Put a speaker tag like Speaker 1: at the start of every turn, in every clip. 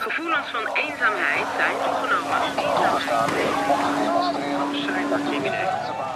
Speaker 1: Gevoelens van eenzaamheid zijn toegenomen.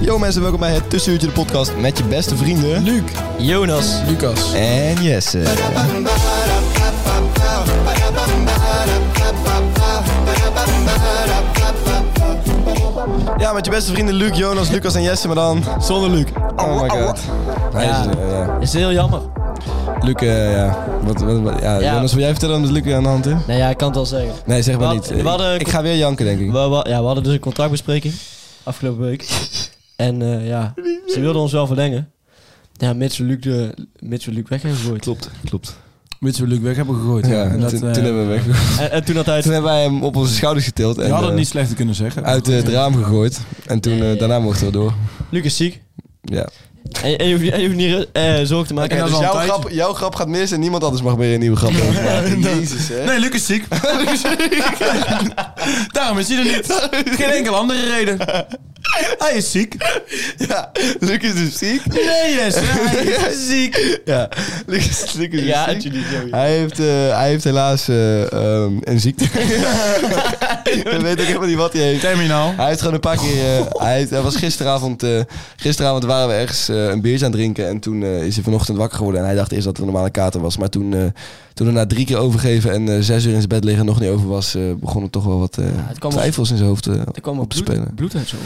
Speaker 2: Yo mensen, welkom bij het Tussenuurtje de podcast met je beste vrienden... Luc, Jonas
Speaker 3: Lucas.
Speaker 2: en Jesse. Ja, met je beste vrienden Luc, Jonas, Lucas en Jesse, maar dan zonder Luc. Oh my god. Hij is, eh, ja.
Speaker 3: Is heel jammer.
Speaker 2: Luc, eh, ja. Wat, wat, wat- ja.
Speaker 3: Ja.
Speaker 2: Jonas, wil jij vertellen wat Luc aan de hand is?
Speaker 3: Nee, ja, ik kan het wel zeggen.
Speaker 2: Nee, zeg maar
Speaker 3: Wat-
Speaker 2: niet. Eh,
Speaker 3: wat, eh,
Speaker 2: ik ga weer janken, denk ik.
Speaker 3: We, we- ja, we hadden dus een contractbespreking afgelopen week. En eh, ja, ze wilden ons wel verlengen. Ja, mits we Luc, de, mits we Luc weg hebben gegooid.
Speaker 2: Klopt, klopt.
Speaker 4: Mits we Luc weg hebben gegooid.
Speaker 2: Ja, en
Speaker 4: Dat,
Speaker 2: toen,
Speaker 4: eh,
Speaker 2: toen hebben we weg.
Speaker 3: En, en toen had hij...
Speaker 2: Toen hebben wij hem op onze schouders getild.
Speaker 4: je
Speaker 2: en,
Speaker 4: had het
Speaker 2: eh,
Speaker 4: niet slechter kunnen zeggen.
Speaker 2: uit eh, het raam gegooid. En toen, eh, daarna mochten we door.
Speaker 3: Luc is ziek.
Speaker 2: Ja.
Speaker 3: En, en je hoeft niet, en je hoeft niet eh, zorgen te maken.
Speaker 4: Oké, dat is al een tijdje.
Speaker 2: Dus jouw grap gaat mis en niemand anders mag meer een nieuwe grap doen. Jezus, hè?
Speaker 4: Nee, Luc is ziek. Daarom is hij er niet. Geen enkele andere reden. Hij is ziek.
Speaker 2: Ja, Luc is dus ziek.
Speaker 4: Nee, yes. Hij is dus ziek.
Speaker 2: Ja, Luc is, Luc is dus
Speaker 3: Ja,
Speaker 2: ziek.
Speaker 3: had je niet, ja, ja.
Speaker 2: Hij heeft, eh, hij heeft helaas eh, ehm, een ziekte. Ik weet ook helemaal niet wat hij heeft.
Speaker 4: Terminaal.
Speaker 2: Hij heeft gewoon een paar keer. eh, hij, heeft- hij was gisteravond. eh, gisteravond waren we ergens eh, een biertje aan het drinken. En toen eh, is hij vanochtend wakker geworden. En hij dacht eerst dat er een normale kater was. Maar toen, eh toen er na drie keer overgeven en eh, zes uur in zijn bed liggen nog niet over was, eh begonnen toch wel wat eh,
Speaker 3: het kwam
Speaker 2: twijfels in zijn hoofd eh,
Speaker 3: Er kwam
Speaker 2: op
Speaker 3: op
Speaker 2: te
Speaker 3: bloed,
Speaker 2: spelen.
Speaker 3: bloed uit zo.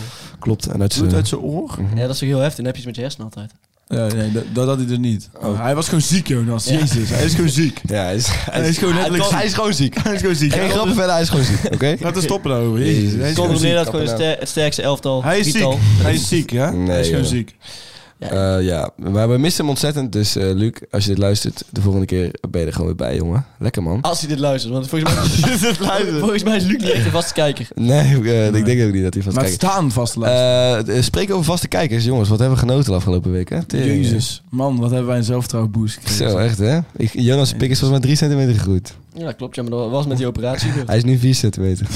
Speaker 2: Klopt. En uit
Speaker 4: Bloed
Speaker 2: zijn-
Speaker 4: uit zijn oor?
Speaker 3: Ja, dat is toch heel heftig. Dan heb je iets met je hersenen altijd.
Speaker 4: Ja, nee, dat, dat had hij er niet.
Speaker 2: Oh.
Speaker 4: Hij was gewoon ziek, Jonas.
Speaker 3: Ja.
Speaker 4: Jezus, hij is gewoon ziek.
Speaker 2: Ja, hij is,
Speaker 4: Hij is gewoon letterlijk ziek.
Speaker 2: hij is gewoon ziek.
Speaker 4: Hij is gewoon ziek.
Speaker 2: Geen
Speaker 4: Hij-
Speaker 2: grappen verder, hij is gewoon ziek. Oké?
Speaker 4: Laten we stoppen daarover. Jezus.
Speaker 2: Jezus.
Speaker 4: Hij is
Speaker 2: Kom
Speaker 3: Zonder
Speaker 4: gewoon
Speaker 2: op neer.
Speaker 3: meer dat gewoon
Speaker 4: ziek.
Speaker 3: het,
Speaker 2: kappen
Speaker 3: ster- het sterkste elftal.
Speaker 4: Hij is
Speaker 3: drietal.
Speaker 4: ziek. Hij is ziek, ja?
Speaker 2: Nee,
Speaker 4: Hij is gewoon
Speaker 2: joh.
Speaker 4: ziek.
Speaker 2: Eh, ja, maar we missen hem ontzettend. Dus eh, Luc, als je dit luistert, de volgende keer ben je er gewoon weer bij, jongen. Lekker man.
Speaker 3: Als hij dit luistert. Want volgens mij, volgens mij is Luc niet echt een vaste kijker.
Speaker 2: Nee, eh, ik denk ook niet dat hij van
Speaker 4: Maar
Speaker 2: het
Speaker 4: het
Speaker 2: kijken.
Speaker 4: staan vast te luisteren.
Speaker 2: Eh, eh, spreek over vaste kijkers, jongens. Wat hebben we genoten de afgelopen week, hè? Tering,
Speaker 4: Jezus. Man, wat hebben wij een zelfvertrouwenboost
Speaker 2: eh.
Speaker 4: gekregen.
Speaker 2: Zo, echt, hè? Ik, Jonas' pik is volgens mij 3 centimeter gegroeid.
Speaker 3: Ja, klopt. Ja, maar dat was met die operatie.
Speaker 2: Hij is nu 4 centimeter.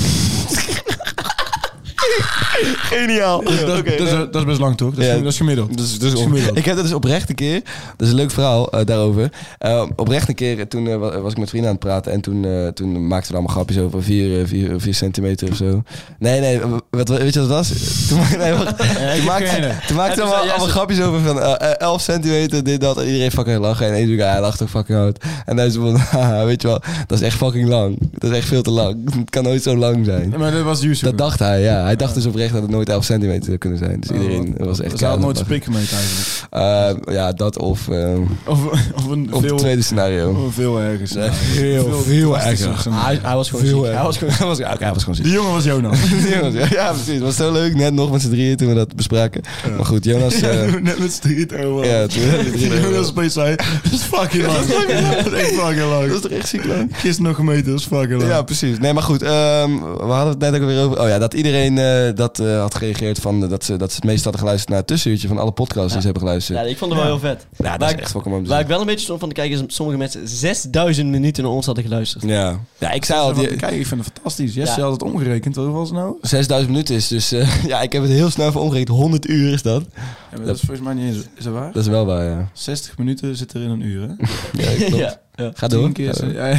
Speaker 2: Geniaal.
Speaker 4: Dat, dat, is, dat is best lang toch? Dat is,
Speaker 2: Ja.
Speaker 4: dat is gemiddeld.
Speaker 2: Dus, dus
Speaker 4: is
Speaker 2: om-
Speaker 4: gemiddeld.
Speaker 2: ik heb dat dus oprecht een keer. Dat is een leuk verhaal eh, daarover. Eh, oprecht een keer, eh, toen eh, wa- was ik met vrienden aan het praten. En toen, eh, toen maakten we allemaal grapjes over 4 vier, vier centimeter of zo. Nee, nee, wat, weet je wat het was? Toen, ma- nee, wacht. toen maakten toen maakten we allemaal,
Speaker 3: zei jij
Speaker 2: allemaal
Speaker 3: zo-
Speaker 2: grapjes over van eh, eh, 11 centimeter, dit, dat. En iedereen fucking lachen. En één doet, ja, hij lacht ook fucking hard. En hij zei van, haha, weet je wel, dat is echt fucking lang. Dat is echt veel te lang. Het kan nooit zo lang zijn.
Speaker 4: Nee, maar dat was Yusuf.
Speaker 2: Dat dacht hij, ja. Hij dacht dus oprecht dat het nooit 11 centimeter zou kunnen zijn. Dus iedereen was echt
Speaker 4: Oh. Ze had
Speaker 2: keihard
Speaker 4: nooit
Speaker 2: aan het lachen.
Speaker 4: spik gemeten eigenlijk.
Speaker 2: Eh, ja, dat of, eh,
Speaker 4: Of, of een
Speaker 2: of
Speaker 4: veel,
Speaker 2: het tweede scenario.
Speaker 4: of een veel ergens.
Speaker 2: Nee, heel,
Speaker 4: Veel
Speaker 2: veel dus
Speaker 4: drastischer
Speaker 2: erger.
Speaker 4: scenario.
Speaker 3: Hij, hij was gewoon ziek. Hij was gewoon
Speaker 2: Hij was, ja, oké, hij was gewoon ziek.
Speaker 4: Die jongen was Jonas.
Speaker 2: ja, precies. Het was zo leuk, net nog met z'n drieën toen we dat bespraken. Maar goed, Jonas... eh,
Speaker 4: Net met Street over.
Speaker 2: ja, toen-
Speaker 4: Die Jonas opeens zei, dat is fucking lang. Dat is echt fucking
Speaker 2: dat is
Speaker 4: lang.
Speaker 2: toch echt ziek lang?
Speaker 4: Gisteren nog gemeten, dat is fucking lang.
Speaker 2: Ja, precies. Nee, maar goed. ehm, we hadden het net ook weer over... Oh ja, dat iedereen eh, dat eh, had gereageerd van... eh, dat, ze, dat ze het meest hadden geluisterd naar het tussenuurtje van alle podcasts die ze hebben
Speaker 3: Ja,
Speaker 2: geluisterd.
Speaker 3: ik vond het wel heel vet.
Speaker 2: Ja, dat
Speaker 3: waar,
Speaker 2: is
Speaker 3: ik,
Speaker 2: echt fucking mooi om te
Speaker 3: waar
Speaker 2: zien.
Speaker 3: ik wel een beetje stond van te kijken is dat sommige mensen 6000 minuten naar ons hadden geluisterd.
Speaker 2: Ja. ja, ik zei al...
Speaker 4: Van,
Speaker 2: Die,
Speaker 4: Kijk, ik vind het fantastisch. Jesse
Speaker 3: Ja.
Speaker 4: had het omgerekend. Hoeveel was het nou?
Speaker 2: 6000 minuten is dus... eh, ja, ik heb het heel snel voor omgerekend. 100 uur is dat.
Speaker 4: Ja, maar dat is volgens mij niet eens... Is dat waar?
Speaker 2: Dat is wel waar, ja.
Speaker 4: 60 minuten zit er in een uur, hè?
Speaker 2: Ja, klopt.
Speaker 3: ja, ja.
Speaker 2: Ga door.
Speaker 4: Tien keer... zo- Ja, ja.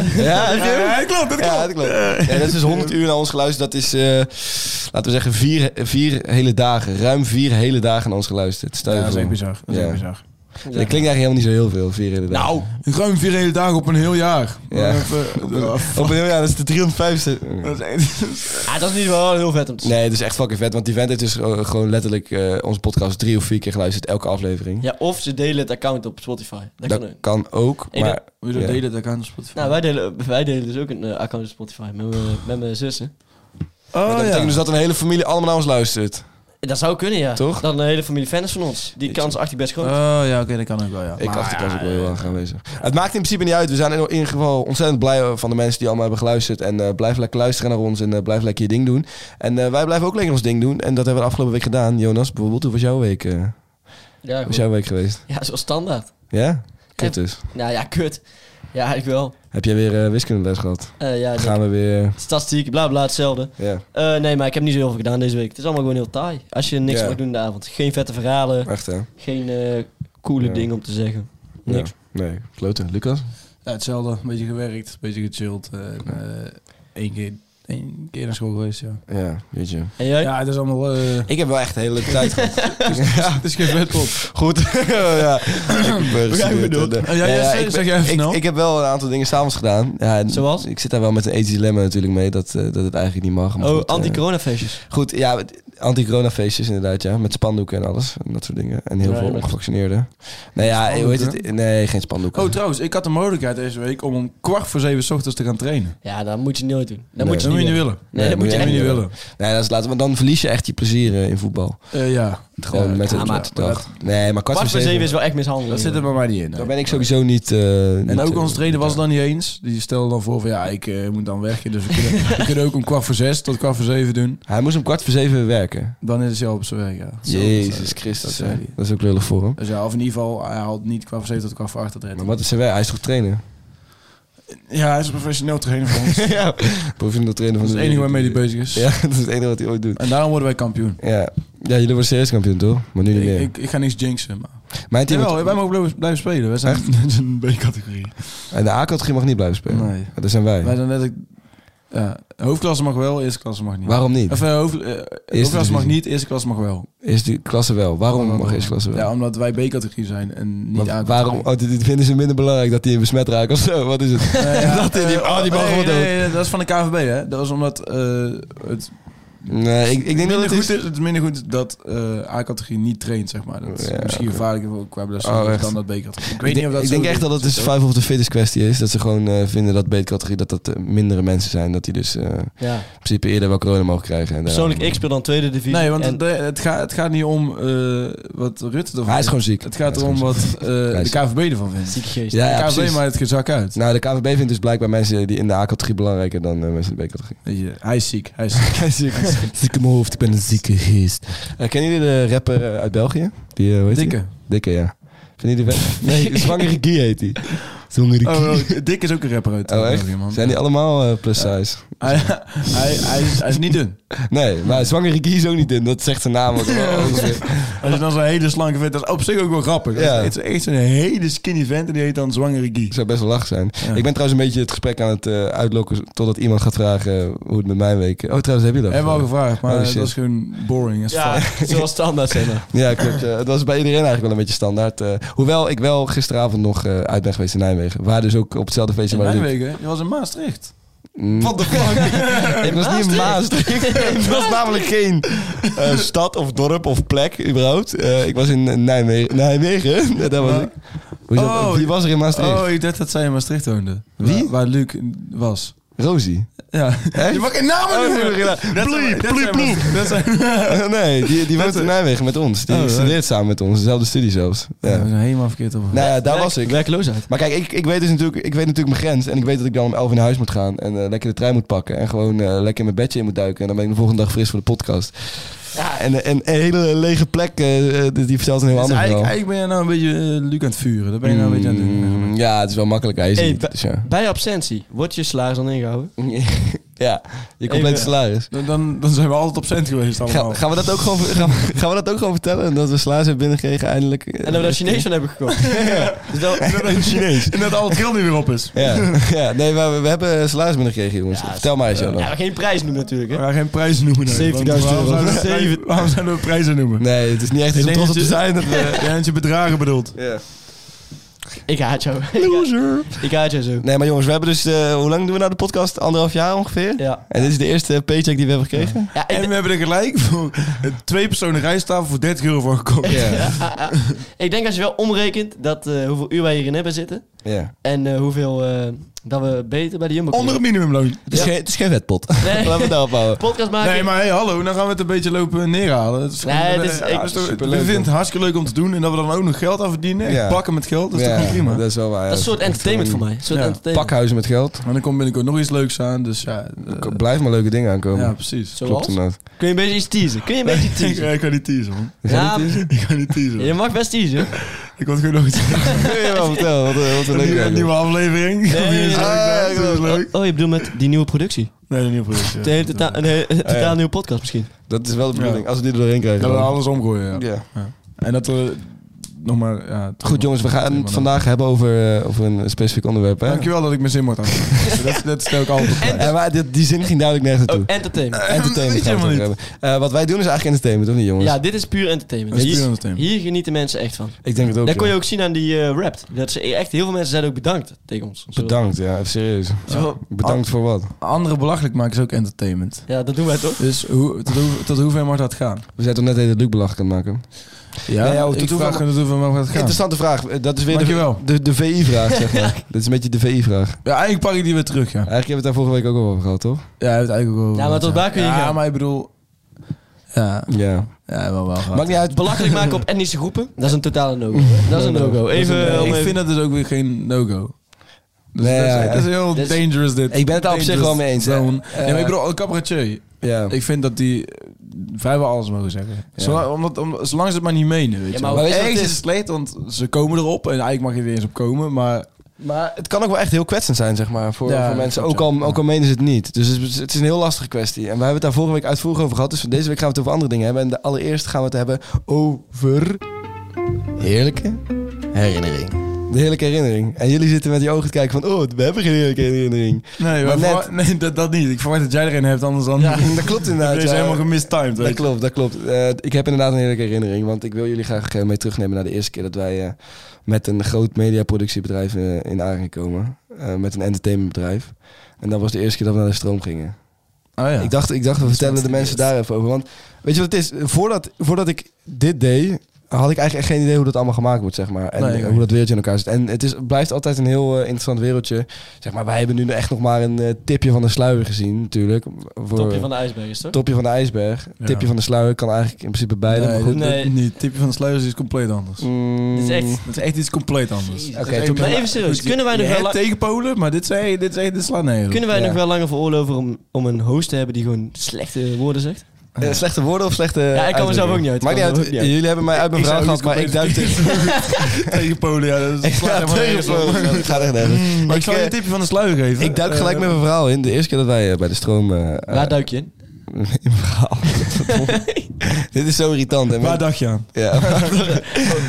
Speaker 2: Ja, heb je hem?
Speaker 4: Ah. Ja, klopt, dat
Speaker 2: Ja, dat klopt. Ja, dat is dus 100 uur naar ons geluisterd. Dat is, eh, laten we zeggen, vier, vier hele dagen. Ruim vier hele dagen naar ons geluisterd. Stel je
Speaker 4: Ja, dat is
Speaker 2: voor.
Speaker 4: echt bizar. Dat is
Speaker 2: Ja.
Speaker 4: echt bizar.
Speaker 2: Dat klinkt eigenlijk helemaal niet zo heel veel, vier hele dagen.
Speaker 4: Nou, ruim vier hele dagen op een heel jaar.
Speaker 2: Ja.
Speaker 4: Maar even- ja, f-
Speaker 2: Op een heel jaar, Oh, dat is de 350.
Speaker 4: eh, Nou, dat is echt-
Speaker 3: Ah, dat is niet wel heel vet om te zien.
Speaker 2: Nee, het is echt fucking vet. Want die vent heeft dus eh, gewoon letterlijk eh, onze podcast drie of vier keer geluisterd. Elke aflevering.
Speaker 3: Ja, of ze delen het account op Spotify. Dat kan
Speaker 2: dat
Speaker 3: ook.
Speaker 2: kan ook.
Speaker 3: Ik
Speaker 2: Maar
Speaker 4: Hoe je
Speaker 2: Ja.
Speaker 4: dat deed, dat aan de Spotify.
Speaker 3: Nou, wij delen, wij delen dus ook een eh, account op Spotify met mijn- met mijn zussen.
Speaker 2: dat
Speaker 4: oh
Speaker 2: betekent
Speaker 4: ja.
Speaker 2: dus dat een hele familie allemaal naar ons luistert.
Speaker 3: Dat zou kunnen, ja.
Speaker 2: Toch? Ah,
Speaker 3: Dat een hele familie fans van ons. Die kans acht die best groot.
Speaker 4: Oh ja, oké, dat kan ook wel, ja.
Speaker 2: Ik
Speaker 4: Maar
Speaker 2: acht die
Speaker 4: ja,
Speaker 2: kans ook wel heel erg aanwezig. Het maakt in principe niet uit. We zijn in ieder geval ontzettend blij eh, van de mensen die allemaal hebben geluisterd. En eh, blijf lekker luisteren naar ons en eh, blijf lekker je ding doen. En eh, wij blijven ook lekker ons ding doen. En dat hebben we de afgelopen week gedaan. Jonas, bijvoorbeeld, hoe was jouw week, eh, hoe
Speaker 3: ja,
Speaker 2: was
Speaker 3: goed.
Speaker 2: jouw week geweest?
Speaker 3: ja, zo standaard.
Speaker 2: Ja? Kut dus.
Speaker 3: Nou ja, kut. Ja, eigenlijk wel.
Speaker 2: Heb jij weer eh wiskundeles gehad?
Speaker 3: Eh, ja,
Speaker 2: Gaan we weer...
Speaker 3: statistiek, bla bla, hetzelfde.
Speaker 2: Ja,
Speaker 3: Eh, nee, maar ik heb niet zo heel veel gedaan deze week. Het is allemaal gewoon heel taai. Als je niks
Speaker 2: Ja.
Speaker 3: mag doen in de avond. Geen vette verhalen,
Speaker 2: echt hè?
Speaker 3: geen eh, coole
Speaker 2: Ja.
Speaker 3: dingen om te zeggen.
Speaker 2: Ja.
Speaker 3: Niks.
Speaker 2: Nee, kloten. Lucas?
Speaker 4: Ja, hetzelfde. Een beetje gewerkt, een beetje gechilled. en, eh één keer, één keer naar school geweest, ja.
Speaker 2: Ja, weet je.
Speaker 3: En jij?
Speaker 4: Ja, het is allemaal... eh,
Speaker 2: Ik heb wel echt een hele leuke tijd gehad.
Speaker 4: het is geen vet op.
Speaker 2: Goed. ja. We
Speaker 3: gaan weer door.
Speaker 4: Oh, ja, ja, zeg- zeg jij even
Speaker 2: ik,
Speaker 4: snel.
Speaker 2: ik heb wel een aantal dingen s'avonds gedaan. Ja, en
Speaker 3: Zoals?
Speaker 2: Ik zit daar wel met een ethisch dilemma natuurlijk mee dat, eh, dat het eigenlijk niet mag. maar
Speaker 3: oh,
Speaker 2: goed, eh,
Speaker 3: anti-corona feestjes.
Speaker 2: Goed, ja, met- anti-corona feestjes inderdaad, ja. Met spandoeken en alles. En dat soort dingen. En heel
Speaker 3: Ja,
Speaker 2: veel
Speaker 3: met-
Speaker 2: ongevaccineerden. Nou ja, hoe heet
Speaker 4: Spandoeken?
Speaker 2: het? Nee, geen spandoeken.
Speaker 4: Oh, trouwens, ik had de mogelijkheid deze week om om kwart voor zeven 's ochtends te gaan trainen.
Speaker 3: Ja, dat moet je nooit doen. Dat
Speaker 2: Nee.
Speaker 3: moet je
Speaker 4: Dat moet je niet willen.
Speaker 3: Nee, dat moet je
Speaker 2: echt
Speaker 3: echt
Speaker 4: niet willen.
Speaker 2: Nee, dat is later. Want dan verlies je echt je plezier eh, in voetbal.
Speaker 4: Eh, ja.
Speaker 2: Gewoon
Speaker 4: Ja,
Speaker 2: met, het,
Speaker 3: ja, maar-
Speaker 2: met de dag. nee, maar kwart
Speaker 3: Kwart
Speaker 2: voor zeven.
Speaker 3: is wel echt mishandeling.
Speaker 4: Dat zit er bij mij niet in. nee.
Speaker 2: Daar ben ik sowieso niet... eh, niet,
Speaker 4: En ook
Speaker 2: eh,
Speaker 4: onze trainer was
Speaker 2: niet
Speaker 4: het dan niet eens. Die stelde dan voor van ja, ik eh, moet dan werken. Dus we kunnen, we kunnen ook om kwart voor zes tot kwart voor zeven doen.
Speaker 2: aan. Hij moest om kwart voor zeven werken.
Speaker 4: Dan is het zelf op zijn werk, ja.
Speaker 2: Jezus
Speaker 4: dat
Speaker 2: Christus.
Speaker 4: zei
Speaker 2: hè.
Speaker 4: hij.
Speaker 2: Dat is ook lullig voor hem.
Speaker 4: Dus ja, of in ieder geval, hij haalt niet kwart voor zeven tot kwart voor acht dat red.
Speaker 2: Maar wat is zijn werk? Hij is toch trainer?
Speaker 4: Ja, hij is een professioneel trainer van ons.
Speaker 2: ja. Professioneel trainer
Speaker 4: Dat
Speaker 2: van
Speaker 4: is het enige waarmee hij bezig is.
Speaker 2: Ja, dat is het enige wat hij ooit doet.
Speaker 4: En daarom worden wij kampioen.
Speaker 2: Ja, ja jullie worden CS kampioen toch? Maar nu niet meer.
Speaker 4: Ik, ik, ik ga niks jinxen, maar...
Speaker 2: Mijn team...
Speaker 4: Jawel, wij mogen blijven, blijven spelen. Wij zijn in een B-categorie.
Speaker 2: En de A-categorie mag niet blijven spelen.
Speaker 4: Nee.
Speaker 2: Dat zijn wij.
Speaker 4: Wij zijn net... Ja, hoofdklasse mag wel, eerste klasse mag niet.
Speaker 2: Waarom niet?
Speaker 4: Of eh, hoofd, eh, hoofdklasse mag
Speaker 2: divisie.
Speaker 4: niet, eerste klasse mag wel.
Speaker 2: Is die klasse wel? Waarom mag eerste klasse wel?
Speaker 4: Ja, omdat wij B-categorie zijn en niet
Speaker 2: Want
Speaker 4: A.
Speaker 2: waarom? Oh, dit, dit vinden ze minder belangrijk dat die in besmet raken of zo. Wat is het? Dat die- die- oh, die mag
Speaker 4: nee,
Speaker 2: wel
Speaker 4: nee, nee, dat is van de KVB, hè? Dat was omdat eh, het,
Speaker 2: Nee, ik, ik denk dat
Speaker 4: minder
Speaker 2: het
Speaker 4: goed
Speaker 2: is-
Speaker 4: is, het is minder goed dat eh, A-categorie niet traint, zeg maar. Dat is
Speaker 2: Ja,
Speaker 4: misschien gevaarlijker voor qua
Speaker 2: Oh,
Speaker 4: blessure
Speaker 2: echt?
Speaker 4: dan dat B-categorie. Ik weet
Speaker 2: Ik,
Speaker 4: niet
Speaker 2: denk,
Speaker 4: of dat
Speaker 2: ik
Speaker 4: zo
Speaker 2: denk echt dat het dus five of the fittest kwestie is. Dat ze gewoon eh, vinden dat B-categorie dat dat eh, mindere mensen zijn. Dat die dus eh,
Speaker 3: Ja.
Speaker 2: in principe eerder wel corona mogen krijgen. En eh, daarom-
Speaker 3: Persoonlijk, ik speel dan tweede divisie.
Speaker 4: Nee, want
Speaker 3: en-
Speaker 4: het, eh, het, gaat, het gaat niet om eh, wat Rutte ervan
Speaker 2: Hij is
Speaker 4: vindt.
Speaker 2: gewoon ziek.
Speaker 4: Het
Speaker 2: Hij
Speaker 4: gaat
Speaker 2: is
Speaker 4: erom
Speaker 2: gewoon
Speaker 4: wat eh, de KVB ervan vindt.
Speaker 3: Zieke geest.
Speaker 2: Ja, ja,
Speaker 4: de KVB
Speaker 2: precies.
Speaker 4: maakt het gezak uit.
Speaker 2: Nou, de KVB vindt dus blijkbaar mensen die in de A-categorie belangrijker dan eh, mensen in de B-categorie.
Speaker 4: Weet je, hij is ziek. Hij is ziek.
Speaker 2: Ziek in mijn hoofd, ik ben een zieke geest. Eh, kennen jullie de rapper eh, uit België? Die, eh, hoe heet die?
Speaker 4: Dikke.
Speaker 2: Dikke, ja. Vind je die vet? Nee, Zwangere Guy heet die. Zwangere
Speaker 4: Oh,
Speaker 2: Guy.
Speaker 4: wel, Dick is ook een rapper uit
Speaker 2: Oh, echt?
Speaker 4: België, man.
Speaker 2: Zijn die allemaal eh, plus size?
Speaker 4: Hij, hij, hij, is, hij is niet dun.
Speaker 2: Nee, maar Zwangere Guy is ook niet in. Dat zegt zijn naam ook wel.
Speaker 4: Als je dan zo'n hele slanke vent, dat is op zich ook wel grappig.
Speaker 2: Ja.
Speaker 4: Het is echt zo'n hele skinny vent en die heet dan Zwangere Guy.
Speaker 2: Ik zou best wel lach zijn.
Speaker 4: Ja.
Speaker 2: Ik ben trouwens een beetje het gesprek aan het eh, uitlokken totdat iemand gaat vragen hoe het met mijn week. Oh, trouwens, heb je dat?
Speaker 4: Hebben we al gevraagd, maar
Speaker 2: Oh,
Speaker 4: dat
Speaker 2: shit.
Speaker 4: is gewoon boring as
Speaker 3: Ja,
Speaker 4: fuck.
Speaker 3: zoals standaard zeg maar.
Speaker 2: Ja, klopt. eh, het was bij iedereen eigenlijk wel een beetje standaard. eh. hoewel ik wel gisteravond nog eh, uit ben geweest in Nijmegen. Waar dus ook op hetzelfde feestje
Speaker 4: In
Speaker 2: waar Luc-
Speaker 4: Nijmegen, je was in Maastricht.
Speaker 2: Mm.
Speaker 4: What the fuck?
Speaker 2: Ik was niet in Maastricht. ik was namelijk geen eh, stad of dorp of plek überhaupt. Eh, ik was in Nijmegen. Nijmegen? Ja, Daar was ik. Hoezo?
Speaker 4: Oh,
Speaker 2: Wie was er in Maastricht?
Speaker 4: oh, ik dacht dat zij in Maastricht woonde.
Speaker 2: Wie?
Speaker 4: Waar, waar Luc was.
Speaker 2: Rosie.
Speaker 4: Ja. Je mag geen namen
Speaker 2: Oh,
Speaker 4: noemen.
Speaker 2: ja.
Speaker 4: Dat zijn- dat zijn Maastricht- dat zijn-
Speaker 2: nee, die, die woont in Nijmegen met ons. Die
Speaker 4: Oh,
Speaker 2: studeert samen met ons. Dezelfde studie zelfs. Ja.
Speaker 4: Ja, we zijn helemaal verkeerd op.
Speaker 2: Nou ja, daar was ik.
Speaker 3: Werkloosheid.
Speaker 2: Maar kijk, ik, ik, weet dus natuurlijk, ik weet natuurlijk mijn grens. En ik weet dat ik dan om 11 uur naar huis moet gaan. En eh, lekker de trein moet pakken. En gewoon eh, lekker in mijn bedje in moet duiken. En dan ben ik de volgende dag fris voor de podcast. Ja, en, en een hele lege plek, eh, eh, die die vertelt een heel
Speaker 4: Dus
Speaker 2: ander verhaal.
Speaker 4: eigenlijk, eigenlijk ben je nou een beetje eh, Luc aan het vuren. Dat ben je nou een beetje aan het doen.
Speaker 2: Mm, Ja, het is wel makkelijk. Hij is
Speaker 3: Hey,
Speaker 2: niet,
Speaker 3: ba-
Speaker 2: dus ja.
Speaker 3: Bij absentie, wordt je salaris dan ingehouden?
Speaker 2: Ja, je complete
Speaker 3: Even-
Speaker 2: salaris.
Speaker 4: Dan, dan, dan zijn we altijd op cent geweest allemaal.
Speaker 2: Ga- gaan, we dat ook gewoon, ver- gaan, we- gaan we dat ook gewoon vertellen? Dat we salaris hebben binnengekregen eindelijk.
Speaker 3: En dat we daar Chinees van hebben gekocht. Dus dat-
Speaker 2: Chinees.
Speaker 4: En dat al het geld niet weer op is.
Speaker 2: Ja, ja, nee, maar we, we hebben salaris binnengekregen, jongens. Vertel maar eens, Jan.
Speaker 3: Ja, maar geen prijs noemen natuurlijk, hè.
Speaker 4: We gaan geen prijzen noemen. nee,
Speaker 3: 70.000
Speaker 4: want waarom
Speaker 3: euro.
Speaker 4: zouden we-
Speaker 3: Zeven-
Speaker 4: Waarom zouden we prijzen noemen?
Speaker 2: Nee, het is niet echt
Speaker 4: Ik
Speaker 2: iets om
Speaker 4: denk
Speaker 2: trots op
Speaker 4: dat
Speaker 2: te
Speaker 4: je-
Speaker 2: zijn. Dat we-
Speaker 4: Ja, dat je bedragen bedoelt.
Speaker 3: Ik haat jou. Loser. Ik haat jou zo.
Speaker 2: Nee, maar jongens, we hebben dus... eh, hoe lang doen we nou de podcast? Anderhalf jaar ongeveer?
Speaker 3: Ja.
Speaker 2: En dit is de eerste paycheck die we hebben gekregen?
Speaker 3: Ja, ik,
Speaker 4: En we hebben er gelijk voor een twee personen rijsttafel voor 30 euro voor gekocht.
Speaker 2: Ja.
Speaker 3: Ah, ah. ik denk als je wel omrekent dat, eh, hoeveel uur wij hierin hebben zitten.
Speaker 2: ja.
Speaker 3: En eh, hoeveel eh, dat we beter bij de Jumbo
Speaker 4: Onder
Speaker 3: kunnen.
Speaker 4: een minimumloon.
Speaker 2: Het, is
Speaker 3: Ja.
Speaker 2: geen, het is geen wetpot.
Speaker 3: Nee.
Speaker 2: Laten we het daarop houden.
Speaker 3: podcast maken.
Speaker 4: Nee, maar hey, hallo, dan gaan we het een beetje lopen neerhalen. Het is
Speaker 3: Nee,
Speaker 4: gewoon-
Speaker 3: het is-
Speaker 4: eh,
Speaker 3: ik-
Speaker 4: toch-
Speaker 2: superleuk,
Speaker 4: we vinden
Speaker 2: man.
Speaker 4: het hartstikke leuk om te doen en dat we dan ook nog geld aan verdienen.
Speaker 2: Ja.
Speaker 4: Ik pak hem met geld, dat is
Speaker 2: Ja,
Speaker 4: toch gewoon prima.
Speaker 2: Dat is wel waar. ja.
Speaker 3: dat is een soort
Speaker 2: Echt
Speaker 3: entertainment voor
Speaker 2: gewoon
Speaker 3: mij. Een soort
Speaker 4: Ja,
Speaker 3: entertainment.
Speaker 2: Pakhuizen met geld.
Speaker 4: Maar dan komt binnenkort nog iets leuks aan, dus ja. eh,
Speaker 2: K- Blijf maar leuke dingen aankomen.
Speaker 4: ja, precies.
Speaker 3: Zo.
Speaker 2: Klopt
Speaker 3: Zoals?
Speaker 2: inderdaad.
Speaker 3: Kun je een beetje iets teasen? Kun je een beetje
Speaker 4: Ik,
Speaker 3: teasen?
Speaker 4: ik kan niet teasen, man.
Speaker 3: Ja,
Speaker 4: Ik kan niet teasen.
Speaker 3: je mag best teasen.
Speaker 4: Ik had gewoon nog iets.
Speaker 2: Kun je wel vertellen? Wat, eh, wat een
Speaker 4: Een
Speaker 2: leuke
Speaker 4: nieuwe, nieuwe aflevering. Ah, Nee,
Speaker 3: nee, nee.
Speaker 4: dat is leuk.
Speaker 3: Oh, je bedoelt met die nieuwe productie?
Speaker 4: Nee, een nieuwe productie.
Speaker 3: Het hele totaal, een hele- totaal
Speaker 2: ja.
Speaker 3: nieuwe podcast misschien.
Speaker 2: Dat is wel de bedoeling.
Speaker 4: Ja.
Speaker 2: Als we dit er doorheen krijgen.
Speaker 4: Dat we
Speaker 2: dan-
Speaker 4: alles omgooien, ja.
Speaker 2: Ja.
Speaker 4: En dat we nog maar... Ja, toch
Speaker 2: Goed
Speaker 4: nog-
Speaker 2: jongens, we gaan
Speaker 4: Helemaal
Speaker 2: het vandaag hebben over, eh, over een specifiek onderwerp. Hè?
Speaker 4: Dankjewel dat ik mijn zin mocht aan. dat, dat stel ik altijd op. prijs.
Speaker 2: Eh, maar dit- die zin ging duidelijk nergens
Speaker 3: Oh,
Speaker 2: naartoe.
Speaker 3: entertainment.
Speaker 2: entertainment
Speaker 4: weet je
Speaker 2: gaan we het
Speaker 4: helemaal
Speaker 2: over hebben. Eh, wat wij doen is eigenlijk entertainment, of niet jongens?
Speaker 3: Ja, dit is puur entertainment.
Speaker 4: Dat is
Speaker 3: Hier-
Speaker 4: puur entertainment.
Speaker 3: Hier genieten mensen echt van.
Speaker 2: ik denk het ook.
Speaker 3: Dat kon je
Speaker 2: ja.
Speaker 3: ook zien aan die eh rap. Dat ze echt heel veel mensen zeiden ook bedankt tegen ons. Zo-
Speaker 2: Bedankt, ja, even serieus.
Speaker 3: zo-
Speaker 2: Bedankt voor wat?
Speaker 4: Anderen belachelijk maken is ook entertainment.
Speaker 3: ja, dat doen wij toch?
Speaker 4: Dus hoe, tot, hoe, tot hoever mag dat gaan?
Speaker 2: We zijn toch net even Luc belachelijk aan het maken.
Speaker 4: Ja,
Speaker 2: ja,
Speaker 4: ik
Speaker 2: tot
Speaker 4: vraag
Speaker 2: hoever-
Speaker 4: me tot hoever mag dat gaan.
Speaker 2: Interessante vraag. Eh, Dat is weer de,
Speaker 4: Dankjewel.
Speaker 2: de, de VI-vraag, zeg maar. Dit is een beetje de VI-vraag.
Speaker 4: Ja, eigenlijk pak ik die weer terug, ja.
Speaker 2: Eigenlijk hebben we het daar vorige week ook al over gehad, toch?
Speaker 4: Ja, hij heeft eigenlijk ook wel...
Speaker 3: Ja, maar tot waar kun je
Speaker 4: ja,
Speaker 3: gaan?
Speaker 4: maar ik bedoel... Ja,
Speaker 2: Ja.
Speaker 4: ja wel wel gehad.
Speaker 2: Maakt niet uit.
Speaker 3: Belachelijk maken op etnische groepen, dat is een totale
Speaker 2: Mm.
Speaker 3: no-go. Dat is een no-go. Even,
Speaker 4: Nee,
Speaker 3: Eh, om
Speaker 4: ik
Speaker 3: even-
Speaker 4: vind dat dus ook weer geen no-go. Dus
Speaker 2: Nee,
Speaker 4: dat, is,
Speaker 2: ja,
Speaker 4: dat is heel
Speaker 3: dit is-
Speaker 4: dangerous dit.
Speaker 2: Ik ben het daar op zich
Speaker 4: Dangerous
Speaker 2: wel mee eens, hè.
Speaker 4: zone.
Speaker 2: Eh, Oh.
Speaker 4: ja, maar ik bedoel, een cabaretier.
Speaker 2: Ja.
Speaker 4: Ik vind dat die eh, vrijwel alles mogen zeggen. Zolang, omdat, om, zolang ze het maar niet menen, weet
Speaker 3: Ja,
Speaker 4: je
Speaker 3: maar
Speaker 4: wel.
Speaker 3: weet je wat
Speaker 4: Ergens
Speaker 3: het is?
Speaker 4: is het slecht, want ze komen erop. En eigenlijk mag je er eens op komen, maar...
Speaker 2: Maar het kan ook wel echt heel kwetsend zijn, zeg maar, voor,
Speaker 4: Ja,
Speaker 2: voor
Speaker 4: dat
Speaker 2: mensen.
Speaker 4: klopt,
Speaker 2: Ook al,
Speaker 4: ja.
Speaker 2: ook al menen ze het niet. Dus het is, het is een heel lastige kwestie. En we hebben het daar vorige week uitvoerig over gehad. Dus van deze week gaan we het over andere dingen hebben. En de- allereerst gaan we het hebben over... Heerlijke herinnering. De heerlijke herinnering. En jullie zitten met die ogen te kijken van... Oh, we hebben geen heerlijke herinnering.
Speaker 4: Nee,
Speaker 2: Maar
Speaker 4: maar
Speaker 2: net-
Speaker 4: verwacht- nee dat, dat niet. Ik verwacht dat jij er een hebt, anders dan...
Speaker 2: Ja, dat klopt inderdaad.
Speaker 4: Dit is
Speaker 2: ja.
Speaker 4: helemaal gemistimed,
Speaker 2: Dat
Speaker 4: weet je.
Speaker 2: klopt, dat klopt. Eh, ik heb inderdaad een heerlijke herinnering, want ik wil jullie graag eh, mee terugnemen naar de eerste keer dat wij eh, met een groot mediaproductiebedrijf eh, in aangekomen, komen. Eh, met een entertainmentbedrijf. En dat was de eerste keer dat we naar de stroom gingen.
Speaker 4: Oh ja.
Speaker 2: Ik, dacht, ik dacht, we vertellen de mensen daar even over. Want weet je wat het is? Voordat, voordat ik dit deed, had ik eigenlijk echt geen idee hoe dat allemaal gemaakt wordt, zeg maar. En
Speaker 4: Nee,
Speaker 2: eh,
Speaker 4: ik ook
Speaker 2: hoe dat wereldje in elkaar zit. En het is, blijft altijd een heel eh, interessant wereldje. Zeg maar, wij hebben nu echt nog maar een eh, tipje van de sluier gezien, natuurlijk. Voor-
Speaker 3: Topje van de ijsberg is toch?
Speaker 2: Topje van de ijsberg.
Speaker 4: Ja.
Speaker 2: Tipje van de sluier kan eigenlijk in principe beide.
Speaker 4: nee,
Speaker 2: maar goed.
Speaker 4: dat-
Speaker 3: Nee.
Speaker 4: niet. Tipje van de sluiers is compleet anders.
Speaker 2: Mm,
Speaker 3: Dit is echt...
Speaker 4: Dat is echt iets compleet anders.
Speaker 3: Jezus.
Speaker 2: Oké,
Speaker 4: Dat is
Speaker 2: toen-
Speaker 4: echt-
Speaker 3: Maar even serieus, kunnen wij nog
Speaker 4: Je
Speaker 3: wel
Speaker 4: hebt
Speaker 3: lang-
Speaker 4: tegen Polen, maar dit, zei, dit, zei, dit slaat nergens op.
Speaker 3: Kunnen wij
Speaker 2: Ja.
Speaker 3: nog wel langer veroorloven om, om een host te hebben die gewoon slechte woorden zegt?
Speaker 2: eh, slechte woorden of slechte.
Speaker 3: kan mezelf
Speaker 2: uitdrukkingen?
Speaker 3: ook niet uit.
Speaker 2: Maakt niet
Speaker 3: Kan
Speaker 2: uit.
Speaker 3: mezelf ook niet uit.
Speaker 2: Jullie hebben mij uit mijn
Speaker 4: Ik
Speaker 2: verhaal
Speaker 4: zou
Speaker 2: gehad, maar ik
Speaker 4: iets
Speaker 2: duik tegen.
Speaker 4: tegen Polen, ja, dat
Speaker 2: Ik
Speaker 4: slaat
Speaker 2: ga
Speaker 4: helemaal nergens op.
Speaker 2: tegen. Ik ga echt
Speaker 3: Mm,
Speaker 2: nergens.
Speaker 4: Maar ik
Speaker 2: Ik,
Speaker 4: zal je
Speaker 2: eh,
Speaker 4: een tipje van de sluier geven.
Speaker 2: Ik duik gelijk
Speaker 4: Eh,
Speaker 2: met mijn verhaal in. De eerste keer dat wij eh, bij de stroom. eh,
Speaker 3: Waar
Speaker 2: eh,
Speaker 3: duik je in?
Speaker 2: in mijn verhaal. Dit is zo irritant. hè, mensen?
Speaker 4: Waar dacht je aan?
Speaker 2: Ja.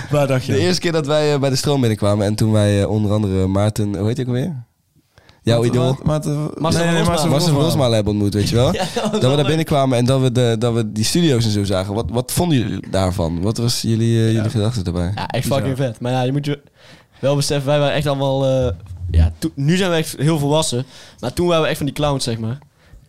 Speaker 4: Waar dacht je
Speaker 2: De
Speaker 4: aan?
Speaker 2: eerste keer dat wij eh, bij de stroom binnenkwamen en toen wij eh, onder andere Maarten, hoe heet ik alweer? Jouw idool.
Speaker 3: Marcel van Rosmalen.
Speaker 4: Marcel
Speaker 2: Marcel
Speaker 4: van Rosmalen.
Speaker 2: Rosmalen hebben ontmoet, weet je wel? dat we daar binnenkwamen en dat we, de, dat we die studio's en zo zagen. Wat, wat vonden jullie daarvan? Wat was jullie, eh, jullie gedachten daarbij?
Speaker 3: Ja, echt fucking vet. Maar ja, je moet je wel beseffen, wij waren echt allemaal... eh, ja, to- nu zijn we echt heel volwassen. Maar toen waren we echt van die clowns, zeg maar.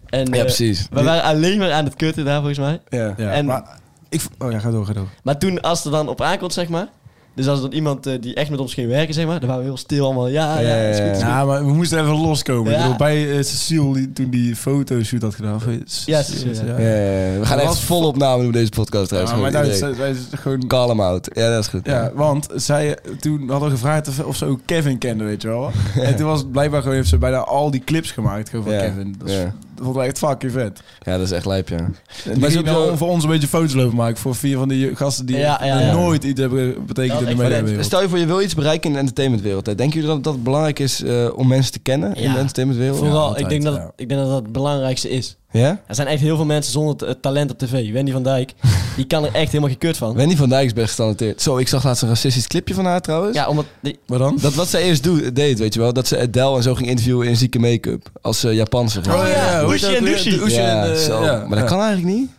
Speaker 3: En,
Speaker 2: Ja,
Speaker 3: eh,
Speaker 2: precies.
Speaker 3: We waren alleen maar aan het kutten daar, volgens mij.
Speaker 2: Ja.
Speaker 4: Ja,
Speaker 3: En-
Speaker 4: maar ik... v- Oh ja, ga door, ga door.
Speaker 3: Maar toen, als er dan op aankomt, zeg maar... Dus als er dan iemand eh, die echt met ons ging werken, zeg maar... Dan waren we heel stil allemaal, ja, ja, is goed, is goed.
Speaker 4: Ja, maar we moesten even loskomen.
Speaker 3: Ja.
Speaker 4: Ik bedoel, bij eh, Cecile, die, toen die fotoshoot had gedaan. of, eh,
Speaker 3: Ja, Cecile, ja.
Speaker 2: Ja, ja, ja. We gaan
Speaker 4: Dat
Speaker 2: echt
Speaker 4: was-
Speaker 2: vol opname doen deze podcast
Speaker 4: Ja,
Speaker 2: trouwens.
Speaker 4: maar
Speaker 2: Gewoon
Speaker 4: daar
Speaker 2: iedereen.
Speaker 4: zij is eh, gewoon...
Speaker 2: Call hem out. Ja, dat is goed.
Speaker 4: Ja, want zij, toen hadden we gevraagd of, of ze ook Kevin kende, weet je wel. En toen was het blijkbaar gewoon, heeft ze bijna al die clips gemaakt gewoon van
Speaker 2: Ja.
Speaker 4: Kevin. Dat is
Speaker 2: Ja.
Speaker 4: vond ik echt fucking vet.
Speaker 2: Ja, dat is echt lijp, ja.
Speaker 4: Maar ze
Speaker 2: sowieso-
Speaker 4: hebben voor ons een beetje foto's lopen maken. Voor vier van die gasten die
Speaker 3: Ja, ja, ja.
Speaker 4: nooit iets hebben betekend in de
Speaker 2: Maar
Speaker 4: mediawereld.
Speaker 2: Stel je voor, je wil iets bereiken in de entertainmentwereld. hè. Denken jullie dat dat belangrijk is eh, om mensen te kennen in
Speaker 3: Ja.
Speaker 2: de entertainmentwereld?
Speaker 3: Vooral,
Speaker 4: altijd,
Speaker 3: ik, denk dat,
Speaker 4: ja.
Speaker 3: het- ik denk dat dat het belangrijkste is.
Speaker 2: Ja?
Speaker 3: Er zijn echt heel veel mensen zonder t- eh, talent op tv. Wendy van Dijk, die kan er echt helemaal gekut van.
Speaker 2: Wendy van Dijk is best gestalenteerd. Zo, ik zag laatst een racistisch clipje van haar trouwens.
Speaker 3: Ja, omdat... die-
Speaker 4: Maar dan?
Speaker 2: Dat wat zij eerst doe- deed, weet je wel. Dat ze Adele en zo ging interviewen in zieke make-up. Als eh, Japanse. vrouw.
Speaker 3: ja,
Speaker 4: Oh, hoe
Speaker 3: Oesje
Speaker 4: is dat
Speaker 3: en
Speaker 4: weer?
Speaker 3: Doesje.
Speaker 4: Oesje
Speaker 2: ja,
Speaker 4: en, eh,
Speaker 2: zo.
Speaker 4: ja,
Speaker 2: maar dat
Speaker 4: ja.
Speaker 2: kan eigenlijk niet.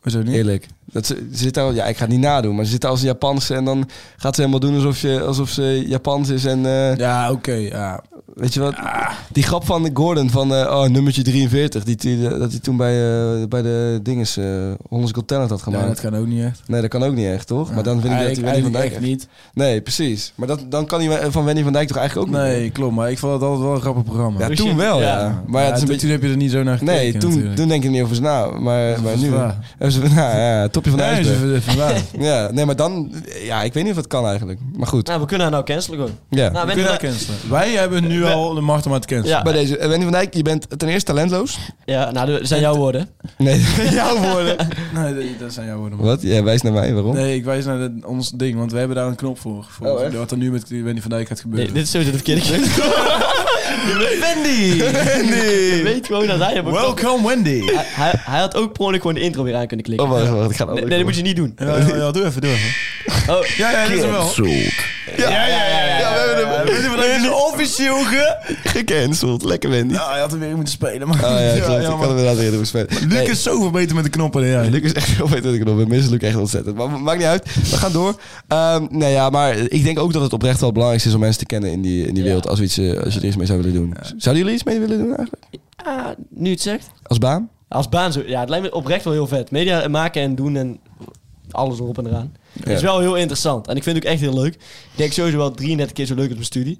Speaker 4: Hoezo niet?
Speaker 2: Eerlijk. Dat ze, ze zit daar, ja, ik ga het niet nadoen, maar ze zit daar als een Japanse en dan gaat ze helemaal doen alsof, je, alsof ze Japans is. En eh,
Speaker 4: Ja, Ah. oké, ja.
Speaker 2: weet je wat? Die grap van Gordon van eh, oh, nummertje 43, die, die- dat hij toen bij, eh, bij de dinges eh Hollandse Got Talent had
Speaker 4: Ja,
Speaker 2: gemaakt.
Speaker 4: dat kan ook niet echt.
Speaker 2: Nee, dat kan ook niet echt, toch? Maar dan vind ik dat die
Speaker 4: Eigenlijk-
Speaker 2: Wendy van Dijk
Speaker 4: eigenlijk
Speaker 2: echt-
Speaker 4: echt
Speaker 2: Nee, precies. Maar dat, dan kan hij eh, van Wendy van Dijk toch eigenlijk
Speaker 4: niet.
Speaker 2: ook niet?
Speaker 4: Nee, klopt. Maar ik vond het altijd wel een grappig programma.
Speaker 2: Ja,
Speaker 3: Dus
Speaker 2: toen
Speaker 3: je-
Speaker 2: wel, ja.
Speaker 3: ja.
Speaker 2: Maar ja, het is een
Speaker 4: toen,
Speaker 2: beetje...
Speaker 4: toen heb je er niet zo naar gekeken
Speaker 2: Nee, toen,
Speaker 4: natuurlijk.
Speaker 2: toen denk je er niet over na. Maar,
Speaker 4: Dat
Speaker 2: maar
Speaker 4: is
Speaker 2: nu...
Speaker 4: waar.
Speaker 2: hebben ze van, nou, ja, topje van de
Speaker 4: Nee,
Speaker 2: ijsberg.
Speaker 4: ze- ze- ze- waar.
Speaker 2: Ja, nee, maar dan... Ja, ik weet niet of dat kan eigenlijk. Maar goed,
Speaker 3: Nou, we kunnen haar nou cancelen gewoon.
Speaker 2: ja.
Speaker 3: Nou,
Speaker 4: We
Speaker 3: Wendy
Speaker 4: kunnen
Speaker 3: van
Speaker 4: dat cancelen. Wij hebben nu al de macht om haar te cancelen.
Speaker 3: Ja.
Speaker 2: Bij deze, eh, Wendy van Dijk, je bent ten eerste talenteloos.
Speaker 3: Ja, nou, dat zijn jouw woorden.
Speaker 2: Nee, jouw woorden.
Speaker 4: Nee, dat- dat zijn jouw woorden. man.
Speaker 2: Wat? Jij wijst naar mij, waarom?
Speaker 4: Nee, ik wijs naar de- ons ding, want we hebben daar een knop voor. voor
Speaker 2: Oh, echt?
Speaker 4: wat er nu met Wendy van Dijk gaat
Speaker 3: Nee,
Speaker 4: gebeuren.
Speaker 3: dit is sowieso de verkeerde keer. Wendy! Je weet gewoon dat hij... hem ook-
Speaker 4: Welcome Wendy!
Speaker 3: Hij, hij, hij had ook per ongeluk gewoon de intro weer aan kunnen klikken.
Speaker 2: Oh, wacht, wacht, het gaat
Speaker 3: nee,
Speaker 2: anders.
Speaker 3: nee, dat moet je niet doen.
Speaker 4: Ja, ja, ja, doe even, doe even.
Speaker 3: Oh,
Speaker 4: Ja, ja, dat is hem wel.
Speaker 2: Ja, ja, ja. ja, we hebben hem
Speaker 4: Wendy van Dijk is officieel ge...
Speaker 2: gecanceld. Lekker, Wendy.
Speaker 4: Ja, hij had er weer in moeten spelen, maar...
Speaker 2: Ah, ja, klopt. ik
Speaker 4: jammer.
Speaker 2: kan inderdaad eerder bespelen.
Speaker 4: Luc is zoveel beter met de knoppen dan jij.
Speaker 2: Ja, Eh, Luc is echt heel beter dan ik nog ben. Missen Luc echt ontzettend. Maar ma- maakt niet uit. We gaan door. Ehm nou ja, maar ik denk ook dat het oprecht wel belangrijk is om mensen te kennen in die, in die wereld. Als, we iets, eh, als je er iets mee zou willen doen. Zouden jullie iets mee willen doen eigenlijk?
Speaker 3: ah, nu het zegt.
Speaker 2: Als baan?
Speaker 3: Als baan zo... Ja, het lijkt me oprecht wel heel vet. Media maken en doen en alles erop en eraan. Het is wel heel interessant. En ik vind het ook echt heel leuk. Ik denk sowieso wel 33 keer zo leuk als mijn studie.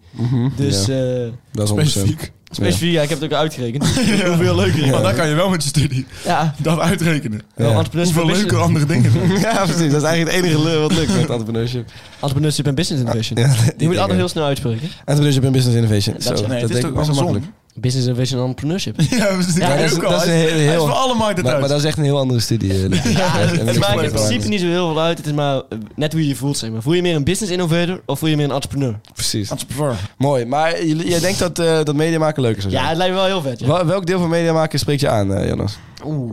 Speaker 3: Dus
Speaker 2: Ja.
Speaker 3: eh
Speaker 2: Dat is 100%.
Speaker 4: Specifiek.
Speaker 3: specifiek, ja, ik heb het ook uitgerekend. Hoeveel leuker.
Speaker 4: Maar
Speaker 3: Ja,
Speaker 4: dat kan je wel met je studie.
Speaker 3: ja.
Speaker 4: Dat uitrekenen.
Speaker 3: Wel, entrepreneurship
Speaker 4: Hoeveel
Speaker 3: en
Speaker 4: leuke
Speaker 3: business-
Speaker 4: andere dingen. doen.
Speaker 2: Ja, precies. Dat is eigenlijk het enige lul wat lukt met entrepreneurship.
Speaker 3: Entrepreneurship en business innovation. die moet je altijd heel snel uitspreken.
Speaker 2: Entrepreneurship en business innovation.
Speaker 3: Dat
Speaker 2: Zo,
Speaker 3: is- nee,
Speaker 2: dat
Speaker 4: Nee, het
Speaker 2: denk
Speaker 4: is
Speaker 2: ik
Speaker 4: toch
Speaker 2: best wel
Speaker 4: andersom?
Speaker 2: makkelijk.
Speaker 3: Business innovation en entrepreneurship.
Speaker 4: Ja, precies.
Speaker 3: Ja,
Speaker 4: Ik
Speaker 2: dat is-
Speaker 4: ook al.
Speaker 2: dat is een
Speaker 4: Hij
Speaker 2: heel- heel-
Speaker 4: hij is voor alle markten
Speaker 2: Maar, maar
Speaker 4: thuis.
Speaker 2: dat is echt een heel andere studie. eh, Luc. Ja, en- en
Speaker 3: Het maakt in
Speaker 2: ik-
Speaker 3: principe niet zo heel veel uit. Het is maar eh, net hoe je je voelt. Zeg maar. Voel je meer een business innovator of voel je meer een entrepreneur?
Speaker 2: Precies.
Speaker 4: Entrepreneur.
Speaker 2: Mooi. Maar jullie- jij denkt dat, eh dat mediamaken leuk is? of zo?
Speaker 3: Ja, het lijkt me wel heel vet. Ja.
Speaker 2: Wel- Welk deel van mediamaken spreekt je aan, eh Jonas?
Speaker 3: Oeh.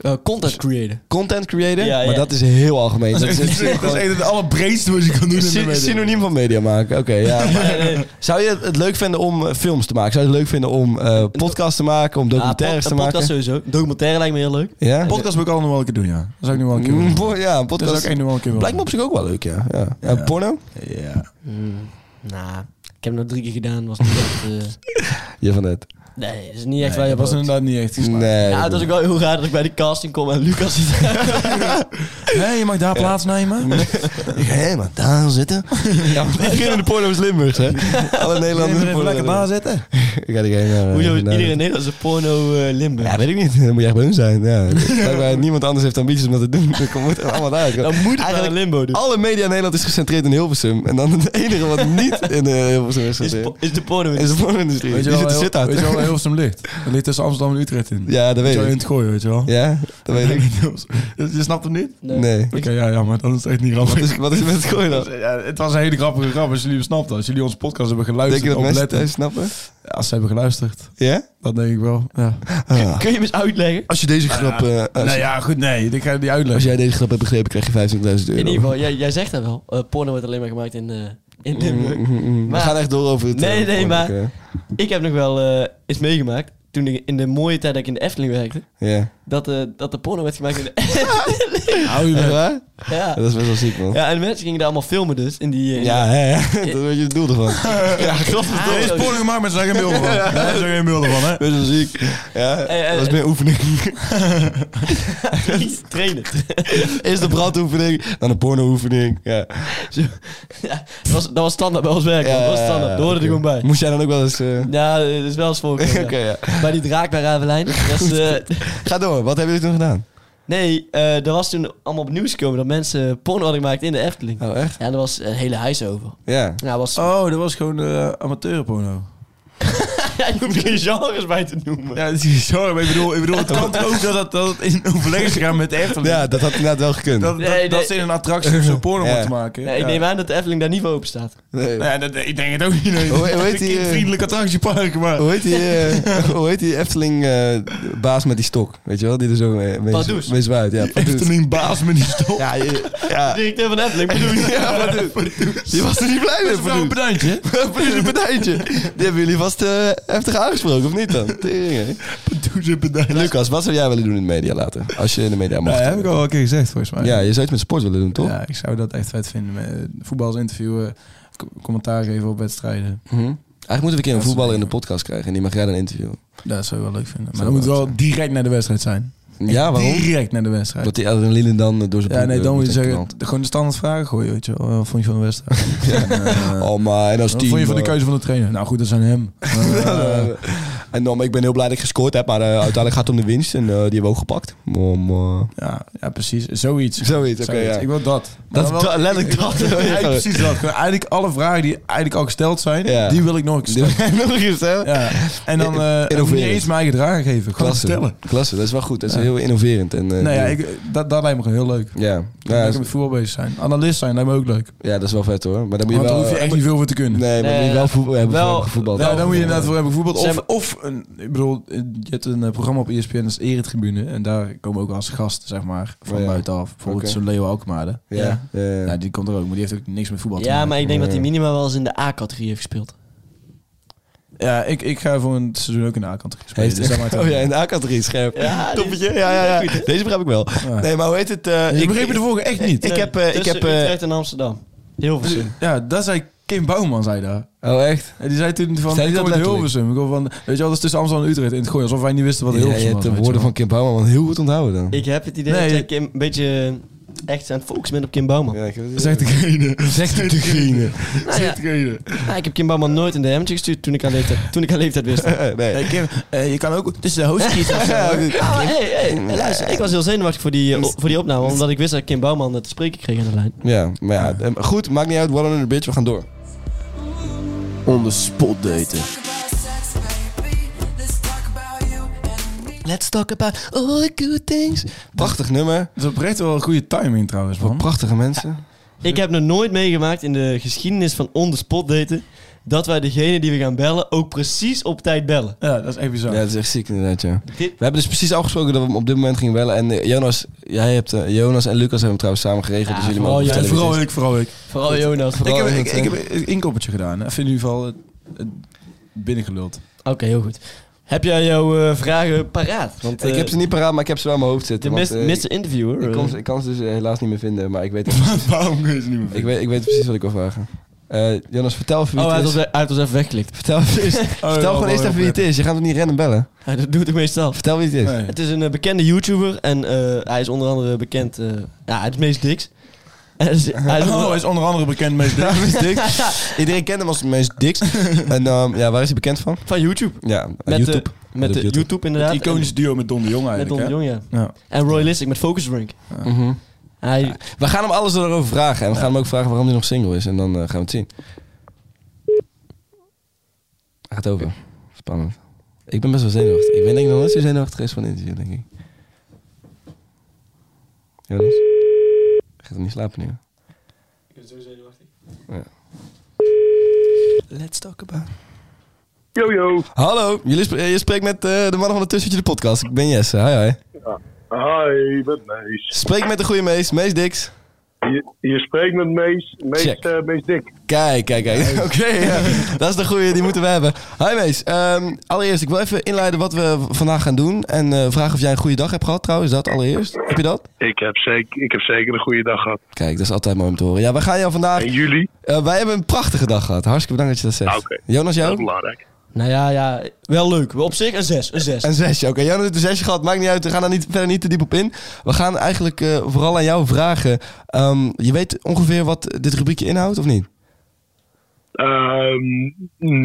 Speaker 3: Eh, content createn.
Speaker 2: Content creator?
Speaker 3: Ja, ja.
Speaker 2: Maar dat is heel algemeen. Dat is,
Speaker 4: Dat is echt het allerbreedste wat je kan doen in de
Speaker 2: Sy-
Speaker 4: media.
Speaker 2: synoniem van media maken. Oké, ja. Maar, eh, Zou je het leuk vinden om eh, films te maken? Zou je het leuk vinden om eh, podcasts te maken? Om documentaires
Speaker 3: Ah, pod-
Speaker 2: te
Speaker 3: een podcast
Speaker 2: maken?
Speaker 3: sowieso. Documentaire lijkt me heel leuk.
Speaker 2: Ja?
Speaker 4: Een podcast wil ik allemaal nog wel een keer doen, ja. Dat zou ik nu wel een keer
Speaker 2: Mm,
Speaker 4: willen doen.
Speaker 2: po- ja, een
Speaker 4: Dat zou
Speaker 2: podcast.
Speaker 4: ik echt nu wel een keer willen
Speaker 2: Blijkt me op zich ook wel leuk, ja. ja. Eh, porno?
Speaker 4: doen. Ja.
Speaker 3: Nou, ik heb hem nog drie keer gedaan. Was niet echt, eh,
Speaker 2: Je van het.
Speaker 3: nee, is niet echt
Speaker 4: Nee,
Speaker 3: waar je
Speaker 4: dat was
Speaker 3: brood.
Speaker 4: inderdaad niet echt geslaagd.
Speaker 2: Nee.
Speaker 3: Ja, het was ook wel heel raar dat ik bij de casting kom en Lucas zit
Speaker 4: Hé, je mag daar plaatsnemen.
Speaker 2: Hé, maar daar zitten. ja, maar die beginnen de porno's Limburgs, hè? Alle Nederlanders.
Speaker 4: Even
Speaker 2: porno-
Speaker 4: lekker daar zitten.
Speaker 2: Ik ga die geen, eh,
Speaker 3: Hoezo is
Speaker 2: geen-
Speaker 3: iedereen in als een porno eh Limburg?
Speaker 2: Ja, weet ik niet. Dan moet je echt bij hun zijn. Ja. Blijkbaar niemand anders heeft ambities om dat te doen. Dan moet er allemaal uit.
Speaker 3: Dan moet ik
Speaker 2: Eigenlijk-
Speaker 3: een limbo doen.
Speaker 2: Alle media in Nederland is gecentreerd in Hilversum. En dan het enige wat niet in eh, Hilversum is
Speaker 3: Is,
Speaker 2: gecentreerd.
Speaker 3: po- is de porno
Speaker 2: Is de porno-industrie. Die
Speaker 4: Weet je
Speaker 2: zit
Speaker 4: wel
Speaker 2: er zit
Speaker 4: heel-
Speaker 2: uit.
Speaker 4: weet je wel waar Hilversum ligt? Het ligt tussen Amsterdam en Utrecht in.
Speaker 2: Ja, dat weet
Speaker 4: Zo in
Speaker 2: ik.
Speaker 4: het gooien, weet je wel.
Speaker 2: Ja, dat weet ik.
Speaker 4: je, je snapt het niet?
Speaker 2: Nee.
Speaker 4: Oké, ja, ja, maar dan is het echt niet grappig.
Speaker 2: Wat is, wat is met het gooien dan?
Speaker 4: Ja, het was een hele grappige grap als jullie hem snapten. Als jullie onze podcast hebben
Speaker 2: Denk
Speaker 4: geluisterd,
Speaker 2: je dat mensen
Speaker 4: opletten.
Speaker 2: thuis snappen?
Speaker 4: Ja, als ze hebben geluisterd,
Speaker 2: Ja?
Speaker 4: dat denk ik wel. Ja.
Speaker 2: Ah.
Speaker 3: Kun je hem eens uitleggen?
Speaker 2: Als je deze grap... eh, als,
Speaker 4: Nou ja, goed, nee, ik ga die uitleggen.
Speaker 2: als jij deze grap hebt begrepen, krijg je 25.000 euro.
Speaker 3: In ieder geval, jij, jij zegt dat wel. Eh, porno wordt alleen maar gemaakt in, eh, in Limburg.
Speaker 2: Mm, mm, mm. We
Speaker 3: Maar-
Speaker 2: gaan echt door over het...
Speaker 3: Nee,
Speaker 2: eh,
Speaker 3: nee,
Speaker 2: volgende
Speaker 3: maar-
Speaker 2: keer.
Speaker 3: Ik heb nog wel eh, eens meegemaakt, toen ik in de mooie tijd dat ik in de Efteling werkte,
Speaker 2: Ja.
Speaker 3: dat, eh, dat de porno werd gemaakt in de
Speaker 4: Hou je
Speaker 2: Echt
Speaker 4: bek.
Speaker 2: waar?
Speaker 3: ja.
Speaker 2: Dat is best wel ziek, man.
Speaker 3: ja, en de mensen gingen daar allemaal filmen dus. In die, eh, in
Speaker 2: Ja, hè, hè. dat weet je het doel ervan. Ja, klopt.
Speaker 3: die-
Speaker 4: Er is
Speaker 3: Ah,
Speaker 4: porno gemaakt, maar ze zijn geen beelden van. Ja, ze zijn geen beelden van, hè?
Speaker 2: Best wel ziek. Ja,
Speaker 3: eh,
Speaker 2: dat is meer oefening.
Speaker 3: die trainen.
Speaker 2: Eerst de brandoefening, dan de porno-oefening. Ja.
Speaker 3: Dat was, dat was standaard bij ons werk.
Speaker 2: Ja,
Speaker 3: dat was standaard.
Speaker 2: ja,
Speaker 3: Daar hoorde
Speaker 2: Eh, oké.
Speaker 3: er gewoon bij.
Speaker 2: Moest jij dan ook wel eens... eh,
Speaker 3: Ja, eh, dat is wel eens voorgekomen. ja.
Speaker 2: Oké, ja.
Speaker 3: Bij die draak bij Ravelijn. Dat is, eh,
Speaker 2: Ga door, wat hebben jullie toen gedaan?
Speaker 3: nee, eh er was toen allemaal op het nieuws gekomen dat mensen porno hadden gemaakt in de Efteling.
Speaker 2: Oh, echt?
Speaker 3: Ja, en er was een hele huis over.
Speaker 2: Ja.
Speaker 3: Ja, was,
Speaker 4: Oh, dat was gewoon eh amateurporno.
Speaker 3: ja, je hoeft geen genres bij te noemen.
Speaker 4: Ja, dat is sorry, maar ik bedoel, ik bedoel het kan toch ook dat het, dat het in overleg is gegaan met de Efteling.
Speaker 2: Ja, dat had inderdaad wel gekund.
Speaker 4: Dat, dat,
Speaker 3: Nee, nee.
Speaker 4: dat ze in een attractie zo'n porno
Speaker 2: Ja.
Speaker 4: moeten maken.
Speaker 3: Nee, ik
Speaker 4: Ja.
Speaker 3: neem aan dat de Efteling daar niet voor open staat.
Speaker 2: Nee.
Speaker 4: Nou ja, dat, ik denk het ook niet. Nee.
Speaker 2: Hoe- hoe
Speaker 4: Dat
Speaker 2: heet
Speaker 4: is
Speaker 2: die,
Speaker 4: een
Speaker 2: eh,
Speaker 4: vriendelijk attractiepark, maar...
Speaker 2: Hoe heet die, eh, hoe heet die Efteling eh, baas met die stok? Weet je wel, die er zo mee, mee,
Speaker 3: Pardoes.
Speaker 2: mee zwaait. Ja, Pardoes.
Speaker 4: Efteling baas met die stok.
Speaker 2: Ja, je- ja.
Speaker 3: Directeur van de Efteling, bedoel je?
Speaker 2: Die was er niet blij mee.
Speaker 4: Even
Speaker 2: Pardoes.
Speaker 4: een bedankje.
Speaker 2: Pardoes een partijtje. Die hebben jullie vast eh, heftig aangesproken, of niet dan? Tering, hè?
Speaker 4: Doe ze bedankje.
Speaker 2: Lucas, wat zou jij willen doen in de media later? Als je in de media mag.
Speaker 4: Dat heb ik al een keer gezegd, volgens mij.
Speaker 2: Ja, je zou iets met sport willen doen, toch?
Speaker 4: Ja, ik zou dat echt vet vinden. Eh, Voetballers interviewen, co- commentaar geven op wedstrijden.
Speaker 2: Mhm. Eigenlijk moeten we een keer een
Speaker 4: Dat is
Speaker 2: voetballer in
Speaker 4: leuk,
Speaker 2: de podcast krijgen en die mag jij dan interviewen.
Speaker 4: Dat zou ik wel leuk vinden. Maar
Speaker 2: Zou
Speaker 4: dat moet
Speaker 2: wel leuk
Speaker 4: wel direct naar de wedstrijd zijn.
Speaker 2: Ja, waarom?
Speaker 4: Direct naar de wedstrijd.
Speaker 2: Dat die adrenaline dan eh, door zijn
Speaker 4: Ja, nee,
Speaker 2: bloed, eh,
Speaker 4: dan moet je
Speaker 2: meteen
Speaker 4: zeggen,
Speaker 2: knalt.
Speaker 4: gewoon de standaard vragen gooien, weet je wel. Wat vond je van de wedstrijd? En, eh,
Speaker 2: Oh, maar en als
Speaker 4: Wat
Speaker 2: team...
Speaker 4: vond je van de
Speaker 2: eh,
Speaker 4: keuze van de trainer? Nou goed, dat zijn hem. Eh,
Speaker 2: En dan, ik ben heel blij dat ik gescoord heb, maar eh, uiteindelijk gaat het om de winst en eh, die hebben we ook gepakt. Om, eh,
Speaker 4: ja, ja, precies. Zoiets.
Speaker 2: Zoiets, oké,
Speaker 4: Zoiets.
Speaker 2: ja.
Speaker 4: Ik wil dat.
Speaker 2: Dat,
Speaker 4: Maar wel-
Speaker 2: dat, letterlijk dat.
Speaker 4: Ja, precies dat. Gewoon eigenlijk alle vragen die eigenlijk al gesteld zijn,
Speaker 2: Ja.
Speaker 4: die wil ik nog een keer
Speaker 2: Die wil
Speaker 4: stellen.
Speaker 2: ik nog eens, hè?
Speaker 4: Ja. En dan eh en niet
Speaker 2: Innoverend.
Speaker 4: eens mijn gedrag geven. Gewoon
Speaker 2: Klasse.
Speaker 4: vertellen.
Speaker 2: Klasse, dat is wel goed. Dat is
Speaker 4: Ja.
Speaker 2: heel innoverend. En, eh,
Speaker 4: Nou ja, ik, dat, dat lijkt me gewoon heel leuk.
Speaker 2: ja. Ja,
Speaker 4: Lekker
Speaker 2: dat
Speaker 4: met
Speaker 2: is-
Speaker 4: voetbal bezig zijn. Analist zijn lijkt me ook leuk.
Speaker 2: ja, dat is wel vet hoor. Maar dan moet je Nou,
Speaker 4: Want daar
Speaker 2: wel... eh,
Speaker 4: hoef je echt niet veel voor te kunnen.
Speaker 2: Nee, maar dan moet
Speaker 3: Nee,
Speaker 2: je wel voetbal hebben
Speaker 3: wel-
Speaker 2: voor gevoetbald.
Speaker 4: Ja, dan moet je inderdaad voor hebben gevoetbald.
Speaker 3: Ze
Speaker 4: Of,
Speaker 3: hebben-
Speaker 4: of een, ik bedoel, je hebt een eh, programma op ESPN, dat is Eretribune. En daar komen ook als gasten, zeg maar, van
Speaker 2: Oh ja.
Speaker 4: buitenaf. Bijvoorbeeld
Speaker 2: Oké.
Speaker 4: zo'n Leo Alkmaarde.
Speaker 2: Ja, Nou, ja, ja.
Speaker 4: Ja, Nou, die komt er ook, maar die heeft ook niks met voetbal te
Speaker 3: Ja,
Speaker 4: maken.
Speaker 3: maar ik denk dat hij minimaal wel eens in de A-categorie heeft gespeeld.
Speaker 4: Ja, ik, ik ga voor een seizoen ook in de A-kant spelen.
Speaker 2: Heeft,
Speaker 4: Dus dat maakt
Speaker 2: oh
Speaker 4: ook
Speaker 2: ja, in
Speaker 4: niet uit.
Speaker 2: de A-categorie scherp.
Speaker 3: Ja, die-
Speaker 2: Toppetje, ja, ja, ja. Deze begrijp ik wel.
Speaker 4: Ja.
Speaker 2: Nee, maar hoe heet het? eh,
Speaker 4: Ik begreep de vorige echt niet. Dus,
Speaker 2: Ik heb, eh, ik
Speaker 3: Tussen
Speaker 2: heb, eh,
Speaker 3: Utrecht en Amsterdam. Heel veel zin.
Speaker 4: Ja, dat zei Kim Bouwman, zei daar.
Speaker 2: Oh, echt?
Speaker 4: En die zei toen
Speaker 2: Zei
Speaker 4: van, ik
Speaker 2: die
Speaker 4: kom
Speaker 2: dat
Speaker 4: uit
Speaker 2: letterlijk?
Speaker 4: Hilversum. Ik kom van, weet je wel, dat is tussen Amsterdam en Utrecht in het gooien. Alsof wij niet wisten wat
Speaker 2: Ja, je
Speaker 4: Hilversum
Speaker 2: hebt
Speaker 4: was.
Speaker 2: de
Speaker 4: weet je
Speaker 2: woorden
Speaker 4: wel.
Speaker 2: van Kim Bouwman heel goed onthouden dan.
Speaker 3: Ik heb het idee
Speaker 4: Nee,
Speaker 3: dat
Speaker 4: je-
Speaker 3: ik een beetje eh, echt aan het focussen bent op Kim Bouwman.
Speaker 2: ik heb het-
Speaker 4: Zegt degene. Zegt degene.
Speaker 3: Nou ja,
Speaker 4: degene.
Speaker 3: nou, ik heb Kim Bouwman nooit een DM'tje gestuurd toen ik aan leeftijd, toen ik aan leeftijd wist.
Speaker 2: Nee.
Speaker 4: Hey, Kim, eh, je kan ook tussen de host kiezen. of zo.
Speaker 3: Ja, maar hey, hey, hey, luister, Eh, ik was heel zenuwachtig voor die, eh, o- voor die opname, omdat ik wist dat Kim Bouwman het spreken kreeg aan de lijn.
Speaker 2: Ja, maar ja, eh, goed, maakt niet uit. One on the bitch, we gaan door.
Speaker 5: On the spot daten.
Speaker 3: Let's talk about all the good things.
Speaker 2: Prachtig nummer.
Speaker 4: Dat is oprecht wel een goede timing trouwens, man.
Speaker 2: Prachtige mensen.
Speaker 3: Ik heb nog nooit meegemaakt in de geschiedenis van on the spot daten, dat wij degene die we gaan bellen ook precies op tijd bellen.
Speaker 4: Ja, dat is Oh even zo.
Speaker 2: Ja, dat is echt ziek inderdaad, ja. We
Speaker 3: Dit-
Speaker 2: hebben dus precies afgesproken dat we hem op dit moment gingen bellen. En eh, Jonas, jij hebt, eh, Jonas en Lucas hebben hem trouwens samen geregeld.
Speaker 3: Ja,
Speaker 2: dus jullie
Speaker 3: vooral
Speaker 2: mogen
Speaker 3: jij,
Speaker 2: vertellen wie
Speaker 4: vooral
Speaker 2: het
Speaker 4: ik, vooral ik.
Speaker 3: Vooral Jonas.
Speaker 2: Vooral-
Speaker 4: Ik heb, ik,
Speaker 2: het,
Speaker 4: ik heb een inkoppertje gedaan. hè. Even in ieder geval eh, eh, binnengeluld.
Speaker 3: Oké, heel goed. Heb jij jouw eh, vragen paraat?
Speaker 2: is.
Speaker 3: Want
Speaker 2: ik
Speaker 3: eh,
Speaker 2: heb ze niet paraat, maar ik heb ze wel in mijn hoofd
Speaker 3: de
Speaker 2: zitten.
Speaker 3: mis,
Speaker 2: want, eh,
Speaker 3: Mr. Interviewer.
Speaker 2: ik,
Speaker 3: eh,
Speaker 2: kon, ze- ik kan ze dus eh, helaas niet meer vinden, maar ik weet,
Speaker 4: Waarom kun je ze niet meer
Speaker 2: ik weet, ik weet precies wat ik wil vragen. Eh, Jonas, vertel even wie
Speaker 3: oh, hij
Speaker 2: het
Speaker 3: had,
Speaker 2: is.
Speaker 3: ons, hij had ons even weggeklikt.
Speaker 2: Vertel, vertel gewoon eerst even wie het is. Je gaat hem niet rennen bellen.
Speaker 3: Hij dat doet ik meestal.
Speaker 2: Vertel wie het is.
Speaker 3: Het is een eh, bekende YouTuber en eh, hij is onder andere bekend... eh, ja, hij is meest diks. Hij is, hij is
Speaker 4: Oh,
Speaker 3: onder-
Speaker 4: hij is onder andere bekend met
Speaker 2: Ja, Mees Dix. Iedereen kent hem als Mees Dix. En ehm, ja, waar is hij bekend van?
Speaker 3: van YouTube.
Speaker 2: Ja,
Speaker 3: Met de-
Speaker 2: Ah, YouTube.
Speaker 3: Met
Speaker 2: Op
Speaker 3: de
Speaker 2: YouTube.
Speaker 3: YouTube,
Speaker 4: het
Speaker 3: inderdaad.
Speaker 4: iconische duo met Don de Jong
Speaker 3: En- met
Speaker 4: eigenlijk.
Speaker 3: Don de
Speaker 4: hè?
Speaker 3: Jong, ja.
Speaker 4: Ja.
Speaker 3: En Royalistic met Focus Drink.
Speaker 2: Mhm.
Speaker 3: Hij,
Speaker 2: We gaan hem alles erover vragen. En we gaan hem ook vragen waarom hij nog single is. En dan eh, gaan we het zien. Hij gaat over. Spannend. Ik ben best wel zenuwachtig. Ik ben denk ik nog nooit zo zenuwachtig geweest van een interview, denk ik. Jonas? Gaat hem niet slapen nu? Ik ben zo zenuwachtig. Ja. Let's talk about...
Speaker 6: Yo, yo.
Speaker 2: Hallo, jullie sp- eh, je spreekt met eh, de mannen van de Tussentje de podcast. Ik ben Jesse, hi hi.
Speaker 6: Hi, met Mees.
Speaker 2: Spreek met de goede Mees, Mees Dix.
Speaker 6: Je, je spreekt met Mees, Mees,
Speaker 2: Check.
Speaker 6: eh Mees Dik.
Speaker 2: Kijk, kijk, kijk. Oké, ja. dat is de goede, die moeten we hebben. Hi Mees, ehm, allereerst ik wil even inleiden wat we v- vandaag gaan doen. En eh, vragen of jij een goede dag hebt gehad trouwens, dat allereerst. Heb je dat?
Speaker 6: Ik heb, zeker, ik heb zeker een goede dag gehad.
Speaker 2: Kijk, dat is altijd mooi om te horen. Ja, we gaan jou vandaag...
Speaker 6: En jullie?
Speaker 2: eh, wij hebben een prachtige dag gehad, hartstikke bedankt dat je dat zegt.
Speaker 6: Ah, Oké.
Speaker 2: Jonas,
Speaker 6: Dat is
Speaker 2: jou?
Speaker 6: belangrijk.
Speaker 3: nou ja, ja, wel leuk. Op zich een 6. Een 6.
Speaker 2: Een zesje, oké. Jonas heeft een zesje gehad, maakt niet uit. We gaan daar niet, verder niet te diep op in. We gaan eigenlijk eh, vooral aan jou vragen. Ehm, je weet ongeveer wat dit rubriekje inhoudt, of niet?
Speaker 6: Ehm,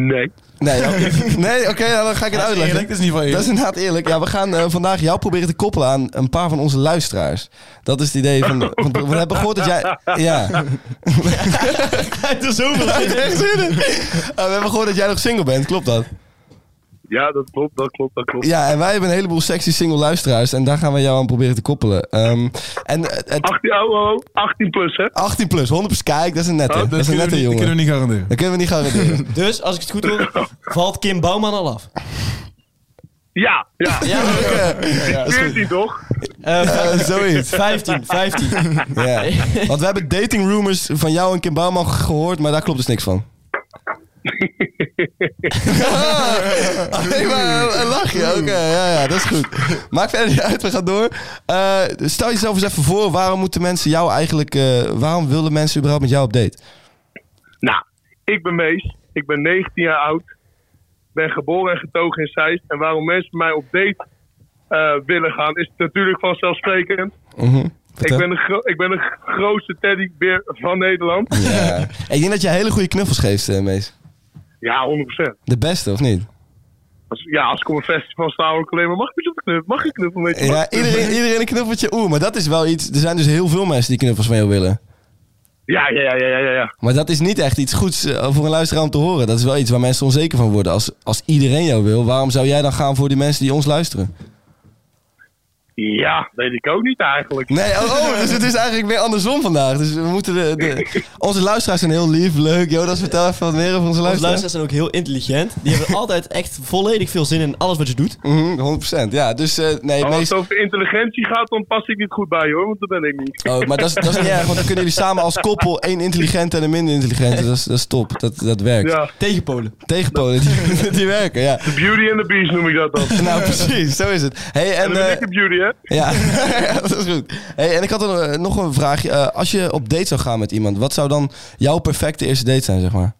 Speaker 6: nee.
Speaker 2: Nee, oké, nee, oké, nou, dan ga ik het
Speaker 4: Dat is
Speaker 2: uitleggen.
Speaker 4: eerlijk, dat is niet van
Speaker 2: Dat is
Speaker 4: je.
Speaker 2: inderdaad eerlijk. Ja, we gaan eh, vandaag jou proberen te koppelen aan een paar van onze luisteraars. Dat is het idee van... van we hebben gehoord dat jij... Ja.
Speaker 3: Hij heeft er zoveel zin in.
Speaker 2: Eh, we hebben gehoord dat jij nog single bent, klopt dat?
Speaker 6: Ja, dat klopt, dat klopt, dat klopt.
Speaker 2: Ja, en wij hebben een heleboel sexy single luisteraars. En daar gaan we jou aan proberen te koppelen. Ehm, en eh, het-
Speaker 6: 18, oh, oh, oh, 18 plus, hè?
Speaker 2: 18 plus, 100 Kijk, dat is een nette.
Speaker 6: Oh,
Speaker 2: dat, is een
Speaker 4: kunnen we
Speaker 2: nette
Speaker 4: niet-
Speaker 2: jongen.
Speaker 4: kunnen we niet garanderen.
Speaker 2: Dat kunnen we niet garanderen.
Speaker 3: Dus, als ik het goed hoor, valt Kim Bouwman al af.
Speaker 6: Ja, ja.
Speaker 3: Ja,
Speaker 2: Dat is goed.
Speaker 6: 14 toch?
Speaker 2: Eh, zoiets.
Speaker 3: 15, 15.
Speaker 2: Ja. Want we hebben dating rumors van jou en Kim Bouwman gehoord, maar daar klopt dus niks van. Nee, maar een lachje. Oké, ja, ja, dat is goed. Maakt verder niet uit, we gaan door. Eh, stel jezelf eens even voor, waarom moeten mensen jou eigenlijk... eh, waarom willen mensen überhaupt met jou op date?
Speaker 6: Nou, ik ben Mees. Ik ben 19 jaar oud. Ben geboren en getogen in Zeist. En waarom mensen mij op date eh, willen gaan, is natuurlijk vanzelfsprekend.
Speaker 2: Mhm,
Speaker 6: Ik
Speaker 2: vertel.
Speaker 6: ben, de gro- ik ben de grootste teddybeer van Nederland.
Speaker 2: Ja. Ik denk dat je hele goede knuffels geeft, eh, Mees.
Speaker 6: Ja, 100%.
Speaker 2: De beste, of niet?
Speaker 6: Als, ja, als ik op een festival sta, hoor ik alleen maar, mag ik met je op de knuffel? Mag ik knuffel met je? Mag
Speaker 2: Ja,
Speaker 6: ik knuffel?
Speaker 2: iedereen, iedereen een knuffeltje. Oeh, maar dat is wel iets... Er zijn dus heel veel mensen die knuffels van jou willen.
Speaker 6: Ja, ja, ja, ja, ja, ja, ja.
Speaker 2: Maar dat is niet echt iets goeds eh, voor een luisteraar om te horen. Dat is wel iets waar mensen onzeker van worden. Als, als iedereen jou wil, waarom zou jij dan gaan voor die mensen die ons luisteren?
Speaker 6: Ja, weet ik ook niet eigenlijk.
Speaker 2: Nee, oh, oh, dus het is eigenlijk weer andersom vandaag. Dus we moeten de, de- onze luisteraars zijn heel lief, leuk. Jonas, vertel even wat meer over onze
Speaker 3: Onze
Speaker 2: luisteraars.
Speaker 3: luisteraars zijn ook heel intelligent. Die hebben altijd echt volledig veel zin in alles wat je doet.
Speaker 2: Mhm, 100%. Ja, dus eh, nee,
Speaker 6: Als
Speaker 2: meest...
Speaker 6: het over intelligentie gaat, dan pas ik niet goed bij je hoor, want dat ben ik niet.
Speaker 2: Oh, maar dat is, dat is niet erg, want dan kunnen jullie samen als koppel één intelligente en een minder intelligente. Dat is, dat is top, dat, dat werkt.
Speaker 6: Ja,
Speaker 3: Tegenpolen.
Speaker 2: Tegenpolen, die, die werken, ja.
Speaker 6: Beauty and the Beast noem ik dat dan.
Speaker 2: Nou, precies, zo is het. Hey, en,
Speaker 6: En dan ben
Speaker 2: eh,
Speaker 6: ik de beauty, hè?
Speaker 2: Ja, ja, dat is goed. Hey, en ik had er, eh, nog een vraagje. Eh, als je op date zou gaan met iemand, wat zou dan jouw perfecte eerste date zijn, zeg maar?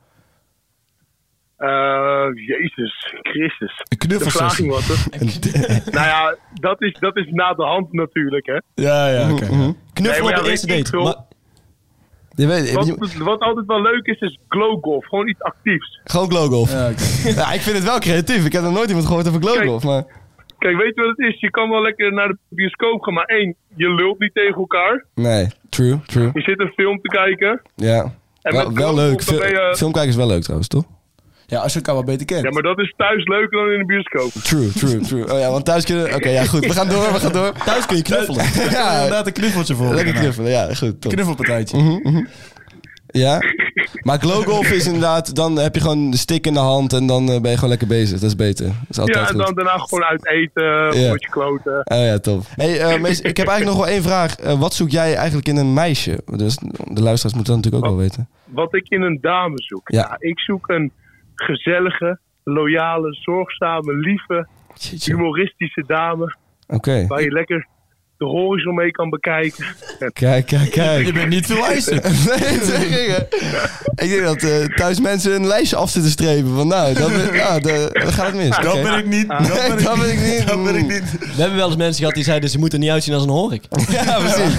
Speaker 6: Eh, Jezus, Christus.
Speaker 4: Een
Speaker 6: De
Speaker 4: knuffelsessie.
Speaker 6: vervraging was het. nou ja, dat is, dat is na de hand natuurlijk, hè.
Speaker 4: Ja, ja, oké.
Speaker 3: Knuffel
Speaker 6: Nee, maar
Speaker 3: op de
Speaker 6: ja,
Speaker 3: eerste
Speaker 6: weet ik
Speaker 3: date.
Speaker 6: veel.
Speaker 3: Maar,
Speaker 2: Mhm. Je weet, je-
Speaker 6: Wat, wat altijd wel leuk is, is glowgolf. Gewoon iets actiefs.
Speaker 2: gewoon glowgolf. Ja.
Speaker 4: Ja, oké.
Speaker 2: ik vind het wel creatief. Ik heb nog nooit iemand gehoord over glowgolf. Maar...
Speaker 6: Kijk, weet je wat het is? Je kan wel lekker naar de bioscoop gaan, maar één, je lult niet tegen elkaar.
Speaker 2: Nee, true, true.
Speaker 6: Je zit een film te kijken.
Speaker 2: Ja.
Speaker 6: En
Speaker 2: Wel,
Speaker 6: met
Speaker 2: wel
Speaker 6: glowgolf
Speaker 2: leuk.
Speaker 6: dan ben
Speaker 2: Fil-
Speaker 6: je-
Speaker 2: Filmkijken is wel leuk trouwens, toch?
Speaker 4: ja, als je elkaar wel beter kent.
Speaker 6: Ja, maar dat is thuis leuker dan in de bioscoop.
Speaker 2: True, true, true. Oh ja, want thuis kunnen... Oké, ja goed. We gaan door, we gaan door.
Speaker 3: thuis kun je knuffelen.
Speaker 2: Ja,
Speaker 4: inderdaad een knuffeltje voor.
Speaker 2: lekker
Speaker 4: elkaar.
Speaker 2: knuffelen. Ja, goed. top.
Speaker 4: Knuffelpartijtje.
Speaker 2: Ja. Maar glowgolf is inderdaad... Dan heb je gewoon de stick in de hand en dan eh, ben je gewoon lekker bezig. Dat is beter. Dat is altijd
Speaker 6: Ja, en
Speaker 2: goed.
Speaker 6: dan daarna gewoon uit eten,
Speaker 2: Ja.
Speaker 6: yeah. je kloten.
Speaker 2: Oh ja, top. Hey, eh, Mees, ik heb eigenlijk nog wel één vraag. Eh, wat zoek jij eigenlijk in een meisje? Dus de luisteraars moeten dat natuurlijk ook wel weten.
Speaker 6: Wat ik in een dame zoek.
Speaker 2: Ja.
Speaker 6: Ja, ik zoek een gezellige, loyale, zorgzame, lieve,
Speaker 2: Jeetje. Oké.
Speaker 6: humoristische dame. Waar je lekker de horizon mee kan bekijken.
Speaker 2: Kijk, kijk, kijk.
Speaker 4: Je bent niet te luisteren.
Speaker 2: Nee, dat zeg ik. hè. Ik denk dat eh, thuis mensen een lijstje af zitten strepen. Van nou, dat, nou, dat, dat gaat het mis. Oké.
Speaker 4: Dat ben ik niet. Dat
Speaker 2: Nee,
Speaker 4: ben ik
Speaker 2: dat ben
Speaker 4: niet.
Speaker 2: ik niet.
Speaker 4: Dat ben ik niet.
Speaker 3: We hebben wel eens mensen gehad die zeiden, ze moeten er niet uitzien als een horik.
Speaker 2: Ja, precies.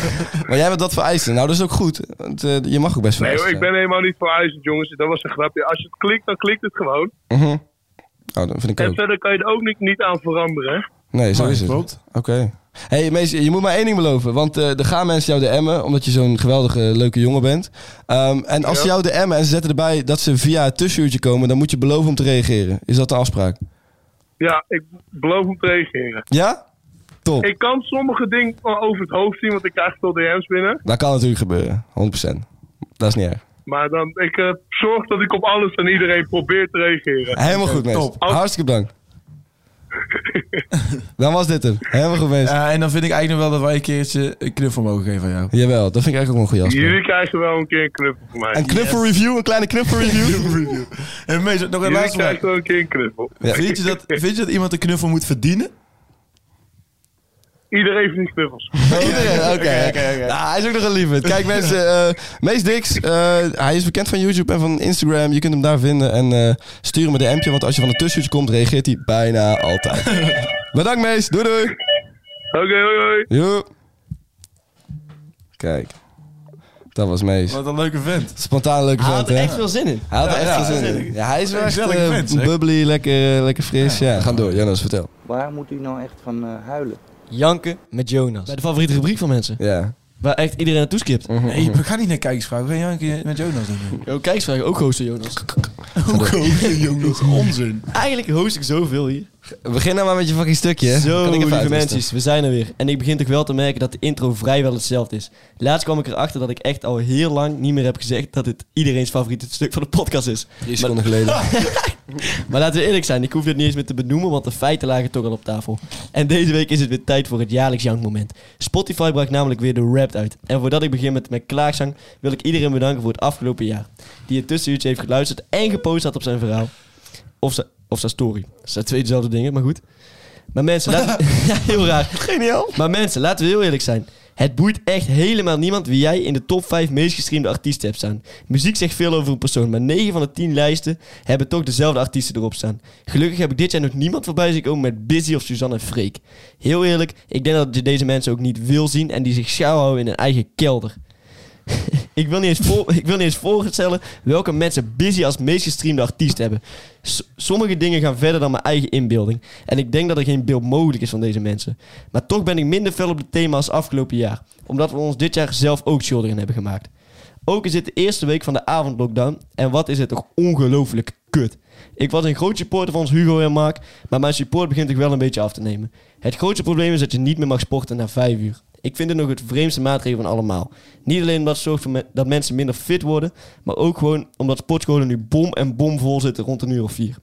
Speaker 2: Maar jij bent dat vereisten. Nou, dat is ook goed. Want, eh, je mag ook best
Speaker 6: Nee
Speaker 2: vereisten.
Speaker 6: hoor, ik ben helemaal niet verhuizend, jongens. Dat was een grapje. Als je het klikt, dan klikt het gewoon.
Speaker 2: Mhm. Oh, dat vind ik
Speaker 6: En
Speaker 2: ook.
Speaker 6: verder kan je er ook niet, niet aan veranderen. hè.
Speaker 2: Nee, zo is het.
Speaker 4: Klopt.
Speaker 2: Oké. hey, Mees, je moet maar één ding beloven. Want eh, er gaan mensen jou de emmen, omdat je zo'n geweldige, leuke jongen bent. Ehm, en als ze jou de emmen en ze zetten erbij dat ze via het tussenuurtje komen, dan moet je beloven om te reageren. Is dat de afspraak?
Speaker 6: Ja, ik beloof om te reageren.
Speaker 2: Ja? Top.
Speaker 6: Ik kan sommige dingen wel over het hoofd zien, want ik krijg veel DM's binnen.
Speaker 2: Dat kan natuurlijk gebeuren, 100%. Dat is niet erg.
Speaker 6: Maar dan, ik eh, zorg dat ik op alles en iedereen probeer te reageren.
Speaker 2: Helemaal goed, Mees.
Speaker 4: top.
Speaker 2: Hartstikke bedankt. dan was dit hem. Helemaal goed, Mees.
Speaker 4: Ja, en dan vind ik eigenlijk wel dat wij een keertje een knuffel mogen geven aan jou.
Speaker 2: Jawel, dat vind ik eigenlijk ook wel een goede afspraak.
Speaker 6: Jullie krijgen wel een keer een knuffel van mij.
Speaker 2: Een knuffelreview, een kleine knuffelreview.
Speaker 4: En mees, nog een
Speaker 6: Jullie
Speaker 4: laatste vraag.
Speaker 6: krijgen wel een keer een knuffel.
Speaker 2: Ja.
Speaker 4: Vind je, dat, vind je dat iemand een knuffel moet verdienen?
Speaker 6: Iedereen verdient knuffels.
Speaker 2: Iedereen, oké. Nou, hij is ook nog een lieve. Kijk mensen, eh, Mees Dix, eh, hij is bekend van YouTube en van Instagram. Je kunt hem daar vinden en eh, stuur hem een DM'tje. Want als je van een tussenuurtje komt, reageert hij bijna altijd. Bedankt Mees, doei doei.
Speaker 6: Oké, hoi hoi.
Speaker 2: Joe. Kijk, dat was Mees.
Speaker 4: Wat een leuke vent.
Speaker 2: Spontaan leuke
Speaker 3: Hij had
Speaker 2: vent,
Speaker 3: er
Speaker 2: hè?
Speaker 3: echt veel zin in.
Speaker 2: Hij had er echt
Speaker 4: Ja,
Speaker 2: veel
Speaker 4: ja,
Speaker 2: zin
Speaker 4: dat
Speaker 2: in. Ja, hij is wel echt
Speaker 4: Gezellige
Speaker 2: eh,
Speaker 4: mens, hè?
Speaker 2: bubbly, lekker, eh, lekker fris. Ja, ga door. Jonas, vertel.
Speaker 7: Waar moet u nou echt van eh, huilen?
Speaker 3: Janken met Jonas. Bij de favoriete rubriek van mensen.
Speaker 2: Ja.
Speaker 3: Waar echt iedereen
Speaker 2: Mm.
Speaker 3: naartoe skipt.
Speaker 4: Nee, we gaan niet naar kijkersvragen. We gaan Janke met Jonas doen.
Speaker 3: Yo, kijksvragen, ook hosten Jonas.
Speaker 4: Ook hoog, jong, dat is onzin.
Speaker 3: Eigenlijk host ik zoveel hier.
Speaker 2: Begin nou maar met je fucking stukje. hè.
Speaker 3: Zo,
Speaker 2: Kan ik even
Speaker 3: lieve
Speaker 2: uitrusten?
Speaker 3: mensen, we zijn er weer. En ik begin toch wel te merken dat de intro vrijwel hetzelfde is. Laatst kwam ik erachter dat ik echt al heel lang niet meer heb gezegd dat dit iedereen's favoriete stuk van de podcast is.
Speaker 2: Drie seconden geleden.
Speaker 3: Maar laten we eerlijk zijn, ik hoef dit niet eens meer te benoemen, want de feiten lagen toch al op tafel. En deze week is het weer tijd voor het jaarlijks jankmoment. Spotify bracht namelijk weer de rap uit. En voordat ik begin met mijn klaagzang, wil ik iedereen bedanken voor het afgelopen jaar. Die het tussenuurtje heeft geluisterd en gepost had op zijn verhaal. Of zijn, of zijn story. Dat zijn twee dezelfde dingen, maar goed. Maar mensen, laten... ja, heel raar. Geniaal. Maar mensen, laten we heel eerlijk zijn. Het boeit echt helemaal niemand wie jij in de top 5 meest gestreamde artiesten hebt staan. Muziek zegt veel over een persoon, maar 9 van de 10 lijsten hebben toch dezelfde artiesten erop staan. Gelukkig heb ik dit jaar nog niemand voorbij zien komen met Busy of Suzanne en Freek. Heel eerlijk, ik denk dat je deze mensen ook niet wil zien en die zich schuilhouden in hun eigen kelder. ik, wil niet eens voor, ik wil niet eens voorstellen welke mensen Busy als meest gestreamde artiest hebben. S- sommige dingen gaan verder dan mijn eigen inbeelding. En ik denk dat er geen beeld mogelijk is van deze mensen. Maar toch ben ik minder fel op het thema als afgelopen jaar. Omdat we ons dit jaar zelf ook schuldig aan hebben gemaakt. Ook is dit de eerste week van de avondlockdown. En wat is het toch ongelooflijk kut. Ik was een groot supporter van ons Hugo en Mark. Maar mijn support begint toch wel een beetje af te nemen. Het grootste probleem is dat je niet meer mag sporten na 5 uur. Ik vind het nog het vreemdste maatregel van allemaal. Niet alleen omdat het zorgt voor me- dat mensen minder fit worden, maar ook gewoon omdat sportscholen nu bom en bom vol zitten rond een uur of vier.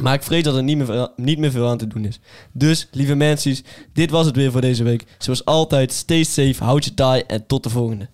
Speaker 3: Maar ik vrees dat er niet meer, veel- niet meer veel aan te doen is. Dus, lieve mensen, dit was het weer voor deze week. Zoals altijd, stay safe, houd je taai en tot de volgende.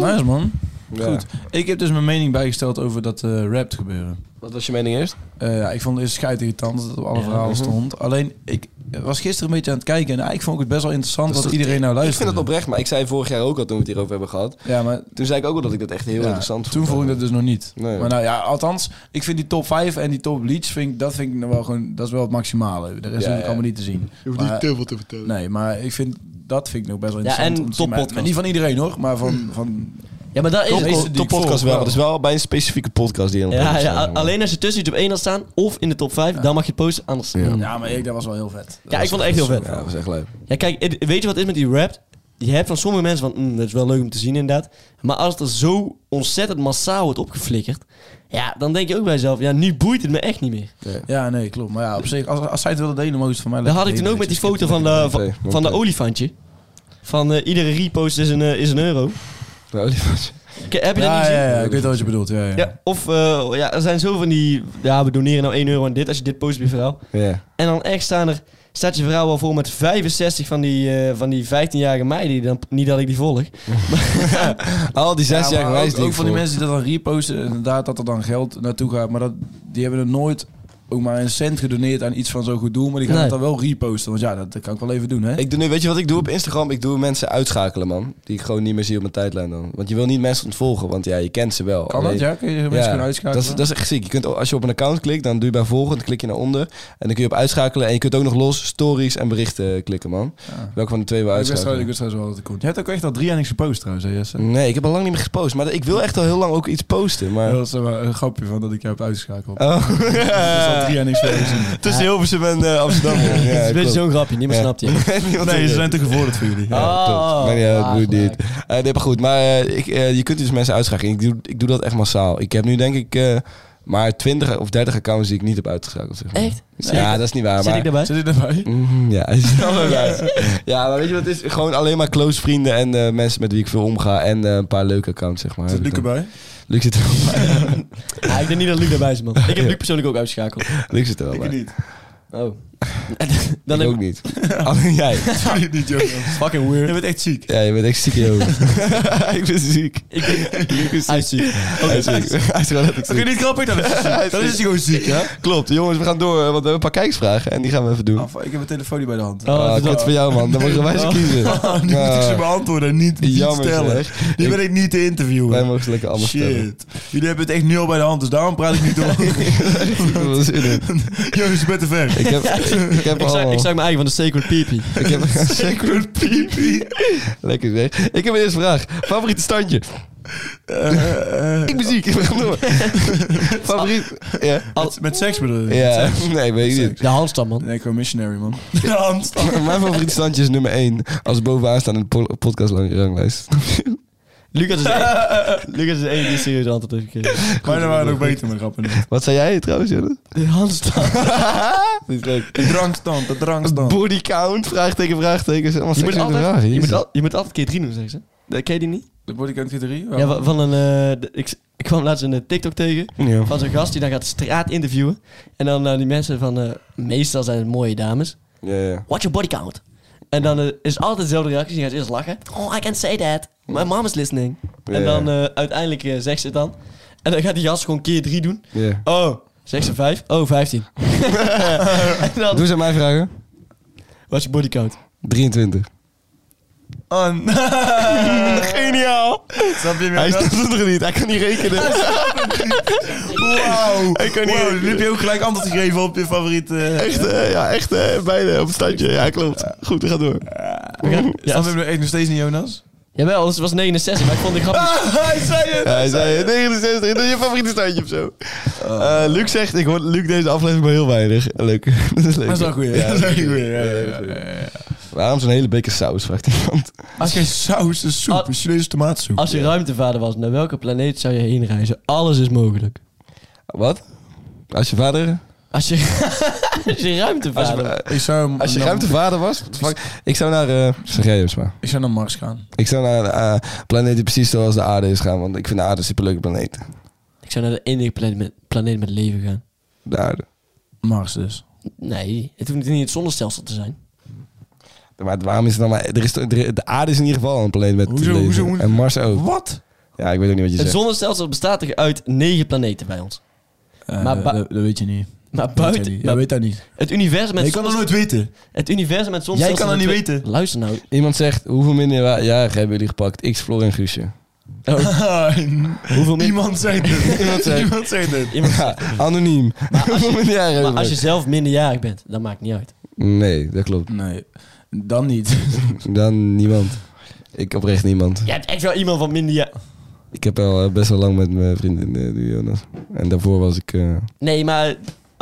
Speaker 4: Nice, man.
Speaker 2: Ja.
Speaker 4: Goed. Ik heb dus mijn mening bijgesteld over dat eh rap gebeuren.
Speaker 2: Wat was je mening eerst?
Speaker 4: Eh, ja, ik vond het eerst scheidirritant dat op alle verhalen
Speaker 2: Mhm.
Speaker 4: stond. Alleen, ik was gisteren een beetje aan het kijken en eigenlijk vond ik het best wel interessant wat iedereen nou
Speaker 2: Ik vind
Speaker 4: luisterde.
Speaker 2: dat oprecht, maar ik zei vorig jaar ook al toen we het hierover hebben gehad.
Speaker 4: Ja, maar
Speaker 2: Toen zei ik ook al dat ik dat echt heel
Speaker 4: ja,
Speaker 2: interessant vond.
Speaker 4: toen vond ik dat dus nog niet.
Speaker 2: Nee.
Speaker 4: Maar nou ja, althans, ik vind die top 5 en die top leads, vind ik, dat vind ik nou wel gewoon, dat is wel het maximale. De rest is natuurlijk
Speaker 2: ja.
Speaker 4: allemaal niet te zien. Je hoeft niet te veel te vertellen. Nee, maar ik vind, dat vind ik nog best wel
Speaker 3: Ja,
Speaker 4: interessant.
Speaker 3: en
Speaker 4: om te zien. Maar-
Speaker 3: toppodcast.
Speaker 4: maar Niet van iedereen hoor, maar van, van
Speaker 3: Ja, maar dat is
Speaker 4: Top-
Speaker 3: het.
Speaker 4: die
Speaker 2: Top
Speaker 4: ik volg
Speaker 2: podcast wel,
Speaker 4: wel.
Speaker 2: maar dat is wel bij een specifieke podcast die je
Speaker 3: Ja, ja, a- alleen als je tussen iets op één had staan of in de top 5, dan mag je posten, anders. Ja,
Speaker 4: Ja, maar ik, dat was wel heel vet. Dat was
Speaker 3: ik vond het echt heel vet.
Speaker 2: Ja, dat was echt leuk.
Speaker 3: Ja, kijk, het- weet je wat het is met die rap? Je hebt van sommige mensen van, "Mm, dat is wel leuk om te zien inderdaad. Maar als het er zo ontzettend massaal wordt opgeflikkerd, ja, dan denk je ook bij jezelf, ja, nu boeit het me echt niet meer.
Speaker 4: Ja, nee, klopt. Maar ja, op zich, als, als zij het wilden delen, mogen ze het van mij Dus
Speaker 3: Dat had ik
Speaker 4: lekker
Speaker 3: toen ook met die
Speaker 4: delen.
Speaker 3: foto van de, van, van de olifantje. Van eh, iedere repost is een, eh, is een euro.
Speaker 2: Nou, die was-
Speaker 3: K- heb je dat niet
Speaker 4: Ja,
Speaker 3: gezien?
Speaker 4: ja, ja, ik weet wel wat je bedoelt. Ja, ja.
Speaker 3: Ja, of eh, ja, er zijn zo van die, ja, we doneren nou 1 euro aan dit als je dit post op je verhaal.
Speaker 2: Ja.
Speaker 3: En dan echt staan er, staat je verhaal al vol met 65 van die, eh, van die 15-jarige meiden. Die dan, niet dat ik die volg.
Speaker 2: Al die zes jaar
Speaker 4: maar
Speaker 2: gewijs
Speaker 4: ook,
Speaker 2: die
Speaker 4: ook
Speaker 2: ik
Speaker 4: van die
Speaker 2: volg.
Speaker 4: mensen die dat dan reposten, inderdaad, dat er dan geld naartoe gaat. Maar dat, die hebben er nooit ook maar een cent gedoneerd aan iets van zo'n goed doel. Maar die gaan
Speaker 3: Nee.
Speaker 4: het dan wel reposten. Want ja, dat, dat kan ik wel even doen, hè?
Speaker 2: Ik doe nu, weet je wat ik doe op Instagram? Ik doe mensen uitschakelen, man. Die ik gewoon niet meer zie op mijn tijdlijn dan. Want je wil niet mensen ontvolgen, want ja, je kent ze wel.
Speaker 4: kan dat,
Speaker 2: Alleen-
Speaker 4: ja? Kun je mensen
Speaker 2: Ja,
Speaker 4: kunnen uitschakelen?
Speaker 2: Dat is, dat is echt ziek. Je kunt, als je op een account klikt, dan doe je bij volgen, dan klik je naar onder. En dan kun je op uitschakelen. En je kunt ook nog los stories en berichten klikken, man.
Speaker 4: Ja.
Speaker 2: Welke van de twee we
Speaker 4: ik wist trouwens,
Speaker 2: uitschakelen?
Speaker 4: ik wist trouwens wel dat het komt. Je hebt ook echt al drie jaar niks gepost trouwens, hè Jesse?
Speaker 2: Nee, ik heb al lang niet meer gepost. Maar ik wil echt al heel lang ook iets posten. Maar...
Speaker 4: Ja, Dat is wel een grapje van dat ik jou heb uitgeschakeld.
Speaker 2: Oh.
Speaker 4: Dat is al drie jaar niks geweest.
Speaker 2: Tussen Hilversum en eh, Amsterdam. Ja,
Speaker 3: het is een beetje
Speaker 2: klopt.
Speaker 3: zo'n grapje, niemand
Speaker 2: Ja.
Speaker 3: snapt je.
Speaker 2: Niemand
Speaker 4: Nee,
Speaker 2: weet
Speaker 4: ze
Speaker 2: het.
Speaker 4: zijn te gevorderd voor jullie. Ja.
Speaker 3: Ah.
Speaker 2: Klopt. Maar ja, dat doet niet. Eh, nee, maar goed, maar eh, ik, eh, je kunt dus mensen uitschakelen. Ik doe, ik doe dat echt massaal. Ik heb nu denk ik eh, maar 20 of 30 accounts die ik niet heb uitgeschakeld. Zeg maar.
Speaker 3: Echt?
Speaker 2: Ja, dat is niet waar.
Speaker 3: Zit ik
Speaker 2: maar...
Speaker 3: daarbij?
Speaker 4: Zit dit erbij?
Speaker 2: Mhm, ja, is wel een wijs. ja, maar weet je wat het is? Gewoon alleen maar close vrienden en eh, mensen met wie ik veel omga. En eh, een paar leuke accounts, zeg maar.
Speaker 4: Zit
Speaker 2: Heb ik
Speaker 4: Luc
Speaker 2: dan.
Speaker 4: erbij?
Speaker 2: Luc zit er wel bij.
Speaker 3: Ja, ik denk niet dat Luc daarbij is, man. Ik heb Luc persoonlijk ook uitgeschakeld.
Speaker 2: Luc zit er wel bij.
Speaker 4: Ik niet.
Speaker 3: Oh.
Speaker 2: Ik
Speaker 3: Dan heb
Speaker 2: ook niet. Alleen jij.
Speaker 4: Absoluut niet, jongen.
Speaker 3: fucking weird.
Speaker 4: Je bent echt ziek.
Speaker 2: Ja, je bent echt ziek in je hoofd. ik ben ziek.
Speaker 3: Ik denk... Hij is ziek.
Speaker 2: Hij is ziek. Hij is gewoon letterlijk ziek.
Speaker 4: Vind je niet grappig? Dan is hij ziek. Dan is hij gewoon ziek, hè?
Speaker 2: Klopt, jongens, we gaan door, eh, want we hebben een paar kijksvragen en die gaan we even doen.
Speaker 4: Ah, fuck, ik heb mijn telefoon niet bij de hand.
Speaker 3: Oh,
Speaker 2: Ah,
Speaker 3: dat- Oh,
Speaker 2: kut voor jou, man. Dan mogen wij ze kiezen.
Speaker 4: Ah, nu moet ik ze beantwoorden en niet, niet
Speaker 2: Jammer,
Speaker 4: stellen.
Speaker 2: zeg.
Speaker 4: Die
Speaker 2: Ik-
Speaker 4: ben ik niet te
Speaker 2: Wij
Speaker 4: interviewen.
Speaker 2: mogen ze lekker allemaal stellen.
Speaker 4: Shit. Jullie hebben het echt nul bij de hand, dus daarom praat ik niet door.
Speaker 2: Dat is in het.
Speaker 4: Jongens, je bent te ver.
Speaker 2: Ik heb, ik heb
Speaker 3: Ik zag,
Speaker 2: allemaal...
Speaker 3: ik zag mijn eigen van de Sacred Peepee.
Speaker 2: Ik heb Sacred Pipi. Lekker zeg. Ik heb een eerste vraag. Favoriete standje?
Speaker 4: Eh, eh,
Speaker 2: Ik ben ziek. We gaan door. Favoriet... Ah, Ja.
Speaker 4: met, met seks bedoel je?
Speaker 2: Ja, nee, weet ik niet.
Speaker 3: De handstand, man.
Speaker 4: Nee, ik ben missionary, man. De hand.
Speaker 2: Mijn favoriete standje is nummer 1. Als bovenaan staan in de po- podcastranglijst.
Speaker 3: Lucas is de, Lucas is de enige die serieus antwoord heeft gekregen.
Speaker 4: Maar er waren nog beter mijn grappen.
Speaker 2: Wat zei jij trouwens, Jelle?
Speaker 3: De handstand.
Speaker 4: De drankstand, de drankstand.
Speaker 2: Body count, vraagteken, vraagteken. is allemaal
Speaker 3: Je moet,
Speaker 2: seksuele
Speaker 3: altijd,
Speaker 2: vragen,
Speaker 3: je, moet
Speaker 2: jezus.
Speaker 3: al- je moet altijd keer drie doen, zeggen ze. Eh, Ken je die niet?
Speaker 4: De bodycount theorie?
Speaker 3: Ja, wa- van een. eh, de- ik, ik kwam laatst een eh, TikTok tegen.
Speaker 2: Ja.
Speaker 3: Van zo'n gast die dan gaat straat interviewen. En dan naar die mensen van. eh, meestal zijn het mooie dames.
Speaker 2: Ja, ja.
Speaker 3: What's your body count? En dan eh, is altijd dezelfde reactie. Je gaat eerst lachen. Oh, I can't say that. My mom is listening. En
Speaker 2: Ja.
Speaker 3: dan eh, uiteindelijk eh, zegt ze het dan. En dan gaat die gast gewoon keer drie doen.
Speaker 2: Ja.
Speaker 3: Oh, zegt ze vijf? Oh, vijftien. en dan,
Speaker 2: Doe ze aan mij vragen.
Speaker 3: what's your body count?
Speaker 2: 23.
Speaker 3: Geniaal!
Speaker 2: Hij snapt het nog niet, hij kan niet rekenen.
Speaker 4: Wauw.
Speaker 2: Hij kan niet
Speaker 4: Wow, nu
Speaker 2: rekenen.
Speaker 4: heb je ook gelijk antwoord gegeven op je favoriete... eh,
Speaker 2: Echt, eh, ja, echt eh, beide op het standje. Ja, klopt. Goed, we gaan door.
Speaker 4: Snap je hem nog steeds niet, Jonas?
Speaker 3: Jawel, anders was het 69, maar ik vond de grap niet...
Speaker 4: Hij zei Oh. het!
Speaker 2: Ah, Hij zei 69, dat is je favoriete standje of zo. Eh, Luc zegt, ik hoor Luc deze aflevering maar heel weinig. Leuk. dat is leuk.
Speaker 4: Dat is wel een goeie.
Speaker 2: Ja,
Speaker 4: Dat is wel een goeie, ja,
Speaker 2: Ja,
Speaker 4: ja,
Speaker 2: dat is
Speaker 4: ja,
Speaker 2: een
Speaker 4: ja, ja.
Speaker 2: Waarom zo'n hele beker saus, vraagt iemand.
Speaker 4: Als geen saus, een soep,
Speaker 3: Ah.
Speaker 4: een Chinese tomaatsoep.
Speaker 3: Als je ruimtevader was, naar welke planeet zou je heen reizen? Alles is mogelijk.
Speaker 2: Wat? Als je vader...
Speaker 3: Als je, als je
Speaker 2: Als
Speaker 3: ruimtevader...
Speaker 2: je,
Speaker 4: Ik zou, hem
Speaker 2: als je
Speaker 4: naar-
Speaker 2: ruimtevader was... what the fuck? Ik zou naar... eh zeg jij eens maar.
Speaker 4: Ik zou naar Mars gaan.
Speaker 2: Ik zou naar een eh, planeet die precies zoals de aarde is gaan. Want ik vind de aarde een superleuke planeet.
Speaker 3: Ik zou naar de enige planeet met, planeet met leven gaan.
Speaker 2: De aarde.
Speaker 4: Mars dus.
Speaker 3: Nee, het hoeft niet in het zonnestelsel te zijn.
Speaker 2: Maar waarom is het dan maar... Er is, toch- er- de aarde is in ieder geval een planeet met
Speaker 4: Hoezo,
Speaker 2: leven.
Speaker 4: hoezo, hoezo?
Speaker 2: En Mars ook.
Speaker 4: Wat?
Speaker 2: Ja, ik weet ook niet wat je
Speaker 3: Het
Speaker 2: zegt.
Speaker 3: zonnestelsel bestaat er uit negen planeten bij ons. Maar ba-
Speaker 4: Eh, dat, dat weet je niet.
Speaker 3: Maar
Speaker 4: Dat weet
Speaker 3: buiten...
Speaker 4: je niet.
Speaker 3: maar
Speaker 4: Jij weet dat niet.
Speaker 3: het universum met
Speaker 4: Ik kan dat
Speaker 3: zonnestelsel-
Speaker 4: nooit weten.
Speaker 3: Het universum met zonnestelsel...
Speaker 4: Jij kan dat
Speaker 3: zijn
Speaker 4: niet
Speaker 3: twee-
Speaker 4: weten.
Speaker 3: Luister nou.
Speaker 2: Iemand zegt, hoeveel minderjarigen hebben jullie gepakt? X, Flor en Guusje.
Speaker 3: Oh, hoeveel meer...
Speaker 4: Iemand zei dit.
Speaker 2: Iemand zei-
Speaker 4: Iemand zei dit.
Speaker 3: iemand-
Speaker 2: Ja, anoniem. Hoeveel minderjarigen hebben
Speaker 3: maar als je
Speaker 2: we?
Speaker 3: zelf minderjarig bent, dat maakt niet uit.
Speaker 2: Nee, dat klopt.
Speaker 4: Nee, dan niet.
Speaker 2: Dan niemand. Ik oprecht niemand.
Speaker 3: Je hebt echt wel iemand van minderjarig...
Speaker 2: Ik heb al eh, best wel lang met mijn vriendin, eh, die Jonas. En daarvoor was ik... eh,
Speaker 3: Nee, maar eh,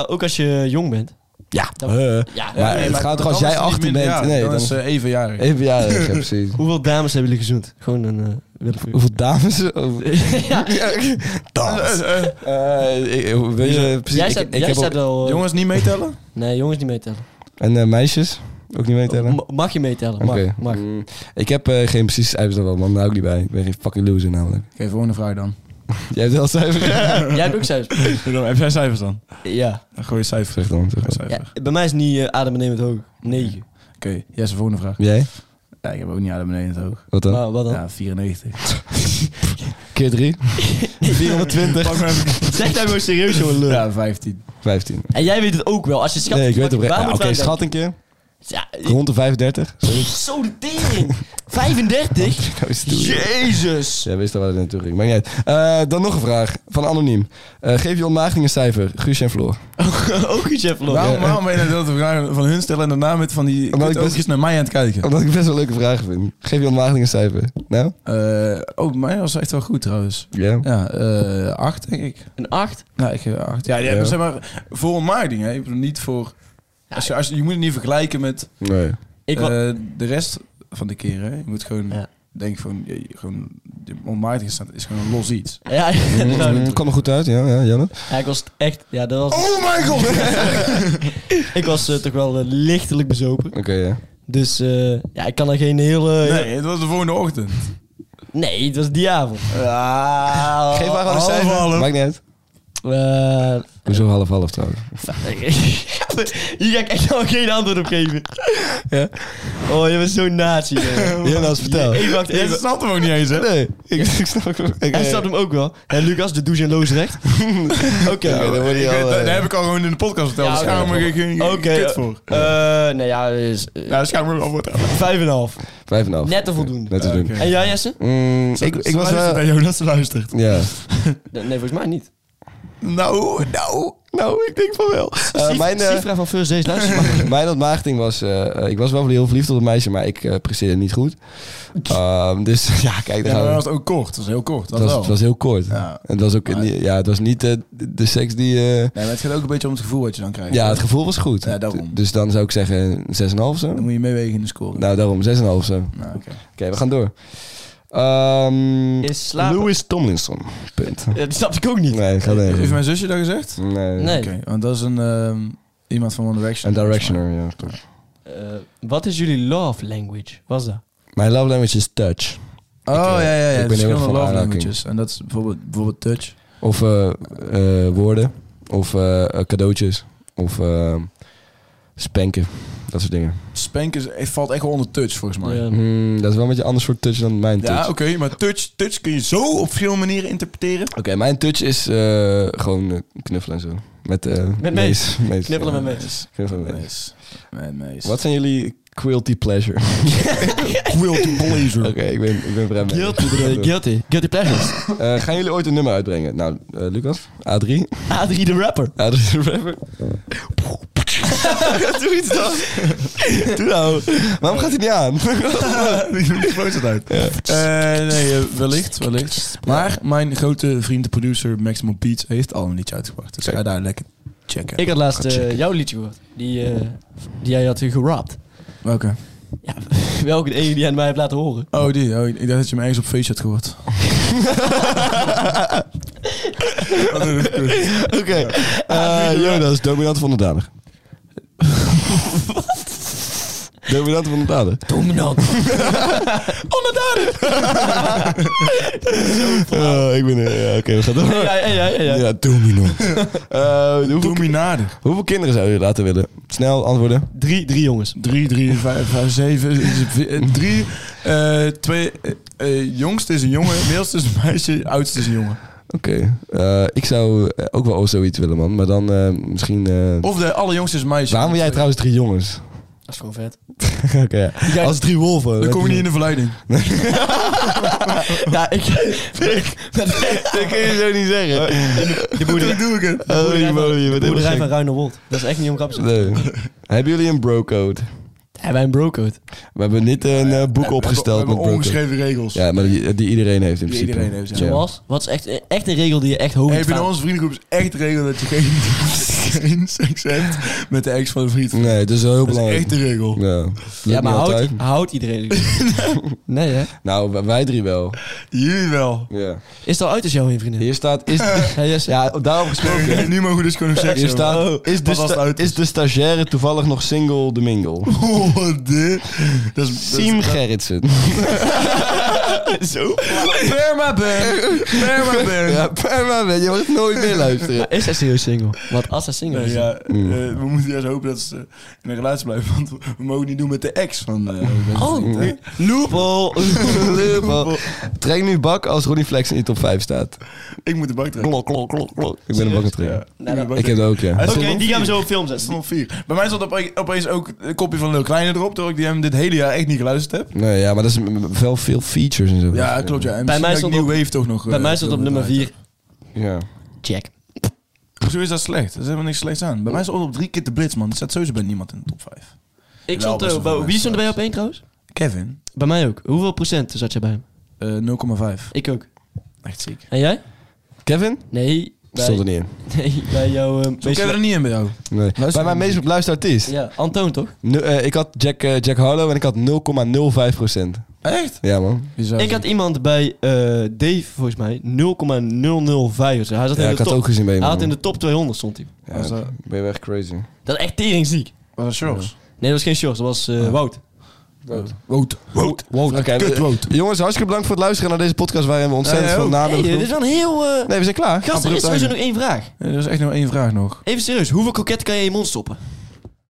Speaker 3: ook als je jong bent.
Speaker 2: ja,
Speaker 3: Dan-
Speaker 2: eh,
Speaker 3: Ja,
Speaker 2: Maar
Speaker 4: Nee,
Speaker 2: het gaat toch als
Speaker 4: dan
Speaker 2: jij
Speaker 4: is het niet
Speaker 2: 18
Speaker 4: minder-
Speaker 2: bent?
Speaker 4: ja,
Speaker 2: Nee,
Speaker 4: dan,
Speaker 2: dan-
Speaker 4: is eh, evenjarig.
Speaker 2: evenjarig, ja, precies.
Speaker 3: Hoeveel dames hebben jullie gezoend? Gewoon een eh willekeurig.
Speaker 2: Hoeveel dames? Oh,
Speaker 3: Ja,
Speaker 2: dames. Eh, ik- eh, weet je, precies,
Speaker 3: jij
Speaker 2: ik-
Speaker 3: staat,
Speaker 2: ik
Speaker 3: jij
Speaker 2: heb
Speaker 3: staat
Speaker 2: ook-
Speaker 3: wel... eh,
Speaker 4: Jongens, niet meetellen?
Speaker 3: Nee, jongens niet meetellen.
Speaker 2: En eh, meisjes? Ook niet meetellen?
Speaker 3: Ma- Mag je meetellen? Mag,
Speaker 2: Oké.
Speaker 3: mag.
Speaker 2: Mm, ik heb eh, geen precies cijfers dan wel, man. Daar hou ik niet bij. Ik ben geen fucking loser namelijk.
Speaker 4: Geef gewoon een vraag dan.
Speaker 2: Jij hebt wel cijfers.
Speaker 3: Jij hebt ook cijfers.
Speaker 4: Heb jij cijfers dan?
Speaker 3: ja.
Speaker 4: Dan gooi je cijfers.
Speaker 2: Zeg dan, zeg
Speaker 4: Gooi
Speaker 2: dan.
Speaker 4: cijfer.
Speaker 3: ja. Bij mij is het niet eh, adembenemend hoog. 9.
Speaker 4: Oké, jij Jesse, volgende vraag.
Speaker 2: Jij?
Speaker 4: Ja, ik heb ook niet aan beneden het hoog.
Speaker 2: Wat dan?
Speaker 3: Maar wat dan?
Speaker 4: Ja, 94.
Speaker 2: Keer 3? 420?
Speaker 3: Zeg daar gewoon serieus, jongen. lul.
Speaker 4: Ja, 15.
Speaker 2: 15.
Speaker 3: En jij weet het ook wel. Als je schat...
Speaker 2: Nee, ik weet het oprecht.
Speaker 3: Waar
Speaker 2: Ja, Oké,
Speaker 3: moeten wij
Speaker 2: schat een keer.
Speaker 3: denken? Ja,
Speaker 2: Rond de 35.
Speaker 3: eh, zo de tering. 35?
Speaker 2: Nou is het toe.
Speaker 3: Jezus.
Speaker 2: Jij wist al waar het naartoe ging. Maar niet uit. Eh, dan nog een vraag van Anoniem. Eh, geef je ontmaagding een cijfer. Guusje en Floor.
Speaker 3: ook iets, Jeff Lord.
Speaker 4: Waarom, waarom ben je dat de vragen van hun stellen en daarna met van die
Speaker 2: Omdat ik
Speaker 4: oogjes
Speaker 2: best-
Speaker 4: naar mij aan het kijken?
Speaker 2: Omdat ik best wel leuke vragen vind. Geef je ontmaagding een cijfer. Nou?
Speaker 4: Eh, oh, mij was echt wel goed trouwens.
Speaker 2: Ja.
Speaker 4: Ja, eh 8 denk ik.
Speaker 3: Een 8?
Speaker 4: Nou, ik geef 8. Ja, die
Speaker 2: Ja.
Speaker 4: hebben zeg maar voor ontmaagding. Hè. Ik bedoel, niet voor... Als je, als, je je moet het niet vergelijken met
Speaker 2: Nee.
Speaker 3: Ik wa-
Speaker 4: eh, de rest van de keren. Hè. Je moet gewoon...
Speaker 3: Ja.
Speaker 4: Denk van, je, je- gewoon, de ontmaagding staat- is gewoon een los iets.
Speaker 2: Eh.
Speaker 3: Ja, nou,
Speaker 2: Mm, kwam er goed uit, ja, ja Janne.
Speaker 3: Ja, ik was echt... Ja, dat was...
Speaker 4: Oh my god!
Speaker 3: Ik was eh, toch wel eh, lichtelijk bezopen.
Speaker 2: Oké, ja.
Speaker 3: Dus eh, ja, ik kan er geen hele...
Speaker 4: Nee, het was de volgende ochtend.
Speaker 3: Nee, het was die avond.
Speaker 4: Ja,
Speaker 2: Geef maar gewoon een cijfer. Maakt niet uit.
Speaker 3: Eh,
Speaker 2: Hoezo half-half trouwens?
Speaker 3: hier ga ik echt al geen antwoord op geven. ja. Oh, je bent zo'n nazi.
Speaker 2: Jonas, nou, vertel.
Speaker 3: Even wacht,
Speaker 4: Jij
Speaker 3: even.
Speaker 4: snapt hem ook niet eens, hè?
Speaker 2: Nee, ik, ik eh, snap het.
Speaker 3: Hij staat hem ook wel. En Lucas, de douche en loos recht. Oké.
Speaker 2: Ja, dan word je
Speaker 4: Ik
Speaker 2: al,
Speaker 4: weet-
Speaker 2: eh,
Speaker 4: dat, dat heb ik al gewoon in de podcast verteld.
Speaker 3: Ja,
Speaker 4: dus schaam
Speaker 3: oké.
Speaker 4: me geen
Speaker 3: Oké.
Speaker 4: geen kut voor.
Speaker 3: eh, eh, nou ja, dus, eh,
Speaker 4: Nou, schaam me wel voor.
Speaker 3: vijf en een half.
Speaker 2: Vijf en een half.
Speaker 3: Net te voldoende.
Speaker 2: Net te doen.
Speaker 4: Ah,
Speaker 2: Mm,
Speaker 4: Oké.
Speaker 3: En jij, Jesse?
Speaker 2: ik, ik was
Speaker 4: Luistert
Speaker 2: wel...
Speaker 4: naar Jonas luistert.
Speaker 2: Ja.
Speaker 3: Nee, volgens mij niet.
Speaker 4: Nou, nou, nou, ik denk van wel.
Speaker 2: Eh, mijn, eh,
Speaker 3: Cifra van First Days, luister maar.
Speaker 2: mijn ontmaagding was... eh, eh, ik was wel heel verliefd op een meisje, maar ik eh presteerde niet goed. Ehm, dus ja, kijk, daar
Speaker 4: Ja, maar
Speaker 2: gaan we.
Speaker 4: dat was ook kort. Dat was heel kort. Dat
Speaker 2: Het was,
Speaker 4: wel.
Speaker 2: het was heel kort.
Speaker 4: Ja.
Speaker 2: Het was ook,
Speaker 4: Maar-
Speaker 2: niet- ja, het was niet eh, de, de seks die... eh,
Speaker 4: Nee, maar het gaat ook een beetje om het gevoel wat je dan krijgt.
Speaker 2: ja, het gevoel was goed.
Speaker 4: Ja, daarom.
Speaker 2: D- Dus dan zou ik zeggen 6,5 zo.
Speaker 4: Dan moet je meewegen in de score.
Speaker 2: Nou, daarom 6,5 zo. Oké,
Speaker 4: Nou, oké.
Speaker 2: we gaan door. Ehm,
Speaker 3: Is slapen.
Speaker 2: Lewis Tomlinson. Punt.
Speaker 3: Ja, die snapte Eh, ik ook niet.
Speaker 2: Nee, gaat
Speaker 4: Heeft
Speaker 2: even.
Speaker 4: mijn zusje dat gezegd?
Speaker 2: Nee.
Speaker 3: Nee.
Speaker 4: Oké, want dat is een ehm, iemand van One Direction.
Speaker 2: Een directioner, ja. klopt.
Speaker 3: Eh, wat is jullie love language? Was dat?
Speaker 2: Mijn love language is touch. Ik, eh,
Speaker 4: Oh ja, ja, ja.
Speaker 2: ik ben heel erg
Speaker 4: verschillende
Speaker 2: van
Speaker 4: love
Speaker 2: aanraking.
Speaker 4: languages. En dat is bijvoorbeeld, bijvoorbeeld touch.
Speaker 2: Of eh, eh, woorden. Of eh, eh, cadeautjes. Of eh, spanken. Dat soort dingen.
Speaker 4: Spanken is- eh, valt echt wel onder touch volgens mij. Ja,
Speaker 3: Ja.
Speaker 2: Hmm, dat is wel een beetje een ander soort touch dan mijn touch.
Speaker 4: oké, maar touch, touch kun je zo op verschillende manieren interpreteren.
Speaker 2: Oké, mijn touch is eh, gewoon eh, knuffelen en zo. Met, eh
Speaker 3: Met
Speaker 2: mees. mees.
Speaker 3: Knippelen
Speaker 2: Ja,
Speaker 3: met mensen.
Speaker 2: Knuffelen met mees.
Speaker 4: Man, mees.
Speaker 2: Wat zijn jullie quilty pleasure?
Speaker 4: Guilty pleasure.
Speaker 2: Oké, ik ben, ik ben vreemd.
Speaker 3: Guilty, bedoel je? Guilty. Guilty pleasures.
Speaker 2: Eh, gaan jullie ooit een nummer uitbrengen? Nou, eh, Lucas? A3?
Speaker 3: Adrie de rapper.
Speaker 2: A3 de rapper?
Speaker 3: Doe iets dan.
Speaker 2: Doe nou. Waarom gaat hij niet aan?
Speaker 4: Die vloot het uit. Eh, nee, eh, wellicht, wellicht. Maar mijn grote vriend, de producer Maximum Beats, heeft al een liedje uitgebracht. Dus ga daar lekker checken.
Speaker 3: Ik had laatst
Speaker 2: Ga
Speaker 3: eh,
Speaker 2: checken.
Speaker 3: jouw liedje gehoord. Die, eh, die jij had eh, gerapt.
Speaker 4: Oké.
Speaker 3: Ja, welke de ene die aan mij heeft laten horen.
Speaker 4: Oh, die. Oh, ik dacht dat je hem ergens op feestje had gehoord.
Speaker 2: Oké. Eh, Jonas, dominant van de dader. Dominant van de dader.
Speaker 3: Dominant.
Speaker 2: Eh, ik ben... eh, ja, Oké, we gaan door.
Speaker 3: ja, ja, ja, ja. ja.
Speaker 2: Ja, dominant. Eh, hoeveel,
Speaker 4: Dominader.
Speaker 2: hoeveel kinderen zou je laten willen? Snel antwoorden.
Speaker 3: Drie, drie jongens.
Speaker 4: 3, 3, 5, 5, 7, 3, eh, 2. eh, Jongste is een jongen, middelste is een meisje, oudste is een jongen.
Speaker 2: Oké. Eh, ik zou eh, ook wel zoiets willen, man. Maar dan eh, misschien... eh,
Speaker 4: Of de allerjongste is een meisje.
Speaker 2: Waarom wil jij trouwens drie jongens?
Speaker 3: Dat is gewoon vet.
Speaker 2: Oké. ja. Als drie wolven.
Speaker 4: Dan kom je niet in de verleiding.
Speaker 3: Ja, ik... ik dat kun je zo niet zeggen.
Speaker 4: Oh,
Speaker 3: De boerderij,
Speaker 4: doe ik het.
Speaker 3: de
Speaker 2: moly, wat
Speaker 3: boerderij, van, de
Speaker 2: helemaal
Speaker 3: boerderij
Speaker 2: gek.
Speaker 3: van Ruinerwold. Dat is echt niet om grap te zeggen.
Speaker 2: Nee. Hebben jullie een bro-code?
Speaker 3: Hebben wij een brocode?
Speaker 2: We hebben niet een eh, boek opgesteld
Speaker 4: met
Speaker 2: met bro-code.
Speaker 4: ongeschreven regels.
Speaker 2: Ja, maar die, die iedereen heeft in
Speaker 4: Die
Speaker 2: principe.
Speaker 4: iedereen heeft, ja.
Speaker 3: Zoals? Wat is echt, echt een regel die je echt hoog
Speaker 4: Hey,
Speaker 3: moet
Speaker 4: binnen
Speaker 3: staan?
Speaker 4: onze vriendengroep is echt de regel dat je geen, geen seks hebt met de ex van een vriend.
Speaker 2: Nee, dat is wel heel
Speaker 4: Dat is
Speaker 2: belangrijk.
Speaker 4: echt de regel.
Speaker 2: Ja,
Speaker 3: Ja, maar houdt
Speaker 2: altijd.
Speaker 3: houdt iedereen Nee, hè?
Speaker 2: Nou, w- wij drie wel.
Speaker 4: Jullie wel.
Speaker 2: Ja.
Speaker 3: Is het al uit als jouw een vriendin?
Speaker 2: Hier staat... Is,
Speaker 3: Ja, yes.
Speaker 2: ja, daarop gesproken.
Speaker 4: Nu mogen we dus gewoon nog seks
Speaker 2: Hier
Speaker 4: hebben. Oh,
Speaker 2: staat... Is dus de,
Speaker 4: Pas als het
Speaker 2: sta-
Speaker 4: uit
Speaker 2: is de stagiaire toevallig nog single de mingle?
Speaker 4: Oh, wat de... Dat is... dat is-
Speaker 2: Siem Gerritsen. Zo?
Speaker 4: Perma Ben. Perma Ben.
Speaker 2: Ja, maar man, je mag het nooit meer luisteren.
Speaker 3: Is hij serieus single? Want als hij single
Speaker 4: Nee,
Speaker 3: is...
Speaker 4: ja,
Speaker 2: Mm.
Speaker 4: eh, we moeten juist hopen dat ze in een relatie blijven. Want we mogen niet doen met de ex van... eh,
Speaker 3: Oh,
Speaker 4: hè?
Speaker 2: Loophole. Loophole. Trek nu bak als Ronnie Flex in de top 5 staat.
Speaker 4: ik moet de bak trekken.
Speaker 2: Klok, klok, klok, klok. Ik ben een bakken
Speaker 4: Ja,
Speaker 2: trekken.
Speaker 4: ik moet de bak
Speaker 2: Ik heb
Speaker 4: trekken.
Speaker 2: dat ook, ja.
Speaker 4: Hij
Speaker 3: Oké,
Speaker 4: stond op
Speaker 3: die gaan we
Speaker 4: vier.
Speaker 3: zo op film
Speaker 4: Hij
Speaker 3: zetten.
Speaker 4: stond op vier. Bij mij stond op- opeens ook een kopje van Lil Kleine erop, terwijl ik die hem dit hele jaar echt niet geluisterd heb.
Speaker 2: Nee, ja, maar dat is m- wel veel features en zo.
Speaker 4: Ja, klopt. Ja. En
Speaker 3: Bij mij
Speaker 4: misschien
Speaker 3: stond
Speaker 4: dat ik
Speaker 3: op-
Speaker 4: New Wave toch nog. eh,
Speaker 3: Bij mij stond op nummer 4.
Speaker 2: Ja.
Speaker 3: Check.
Speaker 4: Zo is dat slecht. Er is helemaal niks slechts aan. Bij mij stond op drie keer de Brits, man. Er staat sowieso bij niemand in de top 5.
Speaker 3: Ik
Speaker 4: Wel,
Speaker 3: stond,
Speaker 4: best
Speaker 3: eh,
Speaker 4: wel
Speaker 3: bij-
Speaker 4: veel
Speaker 3: wie stond er bij je op
Speaker 4: mensen.
Speaker 3: één trouwens?
Speaker 4: Kevin,
Speaker 3: Bij mij ook. Hoeveel procent zat je bij hem?
Speaker 4: eh, 0,5.
Speaker 3: Ik ook.
Speaker 4: Echt ziek.
Speaker 3: En jij?
Speaker 2: Kevin?
Speaker 3: Nee. Bij,
Speaker 2: Stond er niet in.
Speaker 3: Nee, bij jouw... eh,
Speaker 4: Zo
Speaker 3: meest-
Speaker 4: Kevin er niet in bij jou.
Speaker 2: Nee. Bij mijn meest beluisterde artiest.
Speaker 3: Ja, Antoon toch?
Speaker 2: Nu- eh, ik had Jack, eh, Jack Harlow en ik had 0,05
Speaker 4: Echt?
Speaker 2: Ja, man.
Speaker 3: Ik had iemand bij eh, Dave volgens mij 0,005 of zo. Hij zat
Speaker 2: Ja,
Speaker 3: in
Speaker 2: ik
Speaker 3: de
Speaker 2: had
Speaker 3: top.
Speaker 2: ook gezien bij
Speaker 3: Hij had in
Speaker 2: hem.
Speaker 3: de top 200 stond hij.
Speaker 2: Ja, ben je echt crazy.
Speaker 3: Dat is echt teringziek.
Speaker 4: Was dat Charles?
Speaker 3: Nee, dat was geen Sjors, dat was eh,
Speaker 4: Ah.
Speaker 3: Wout.
Speaker 4: Wout. Wout.
Speaker 2: Oké,
Speaker 4: Kut,
Speaker 2: eh,
Speaker 4: Wout.
Speaker 2: Jongens, hartstikke bedankt voor het luisteren naar deze podcast waarin we ontzettend
Speaker 4: Ja, jij
Speaker 2: veel
Speaker 4: ook.
Speaker 2: namen
Speaker 3: Hey, dit is wel een heel... eh
Speaker 2: Nee, we zijn klaar.
Speaker 3: Gast, er is
Speaker 2: Abrupt
Speaker 3: sowieso
Speaker 2: einde.
Speaker 3: nog één vraag.
Speaker 4: Er is echt nog één vraag nog.
Speaker 3: Even serieus, hoeveel kroketten kan je in je mond stoppen?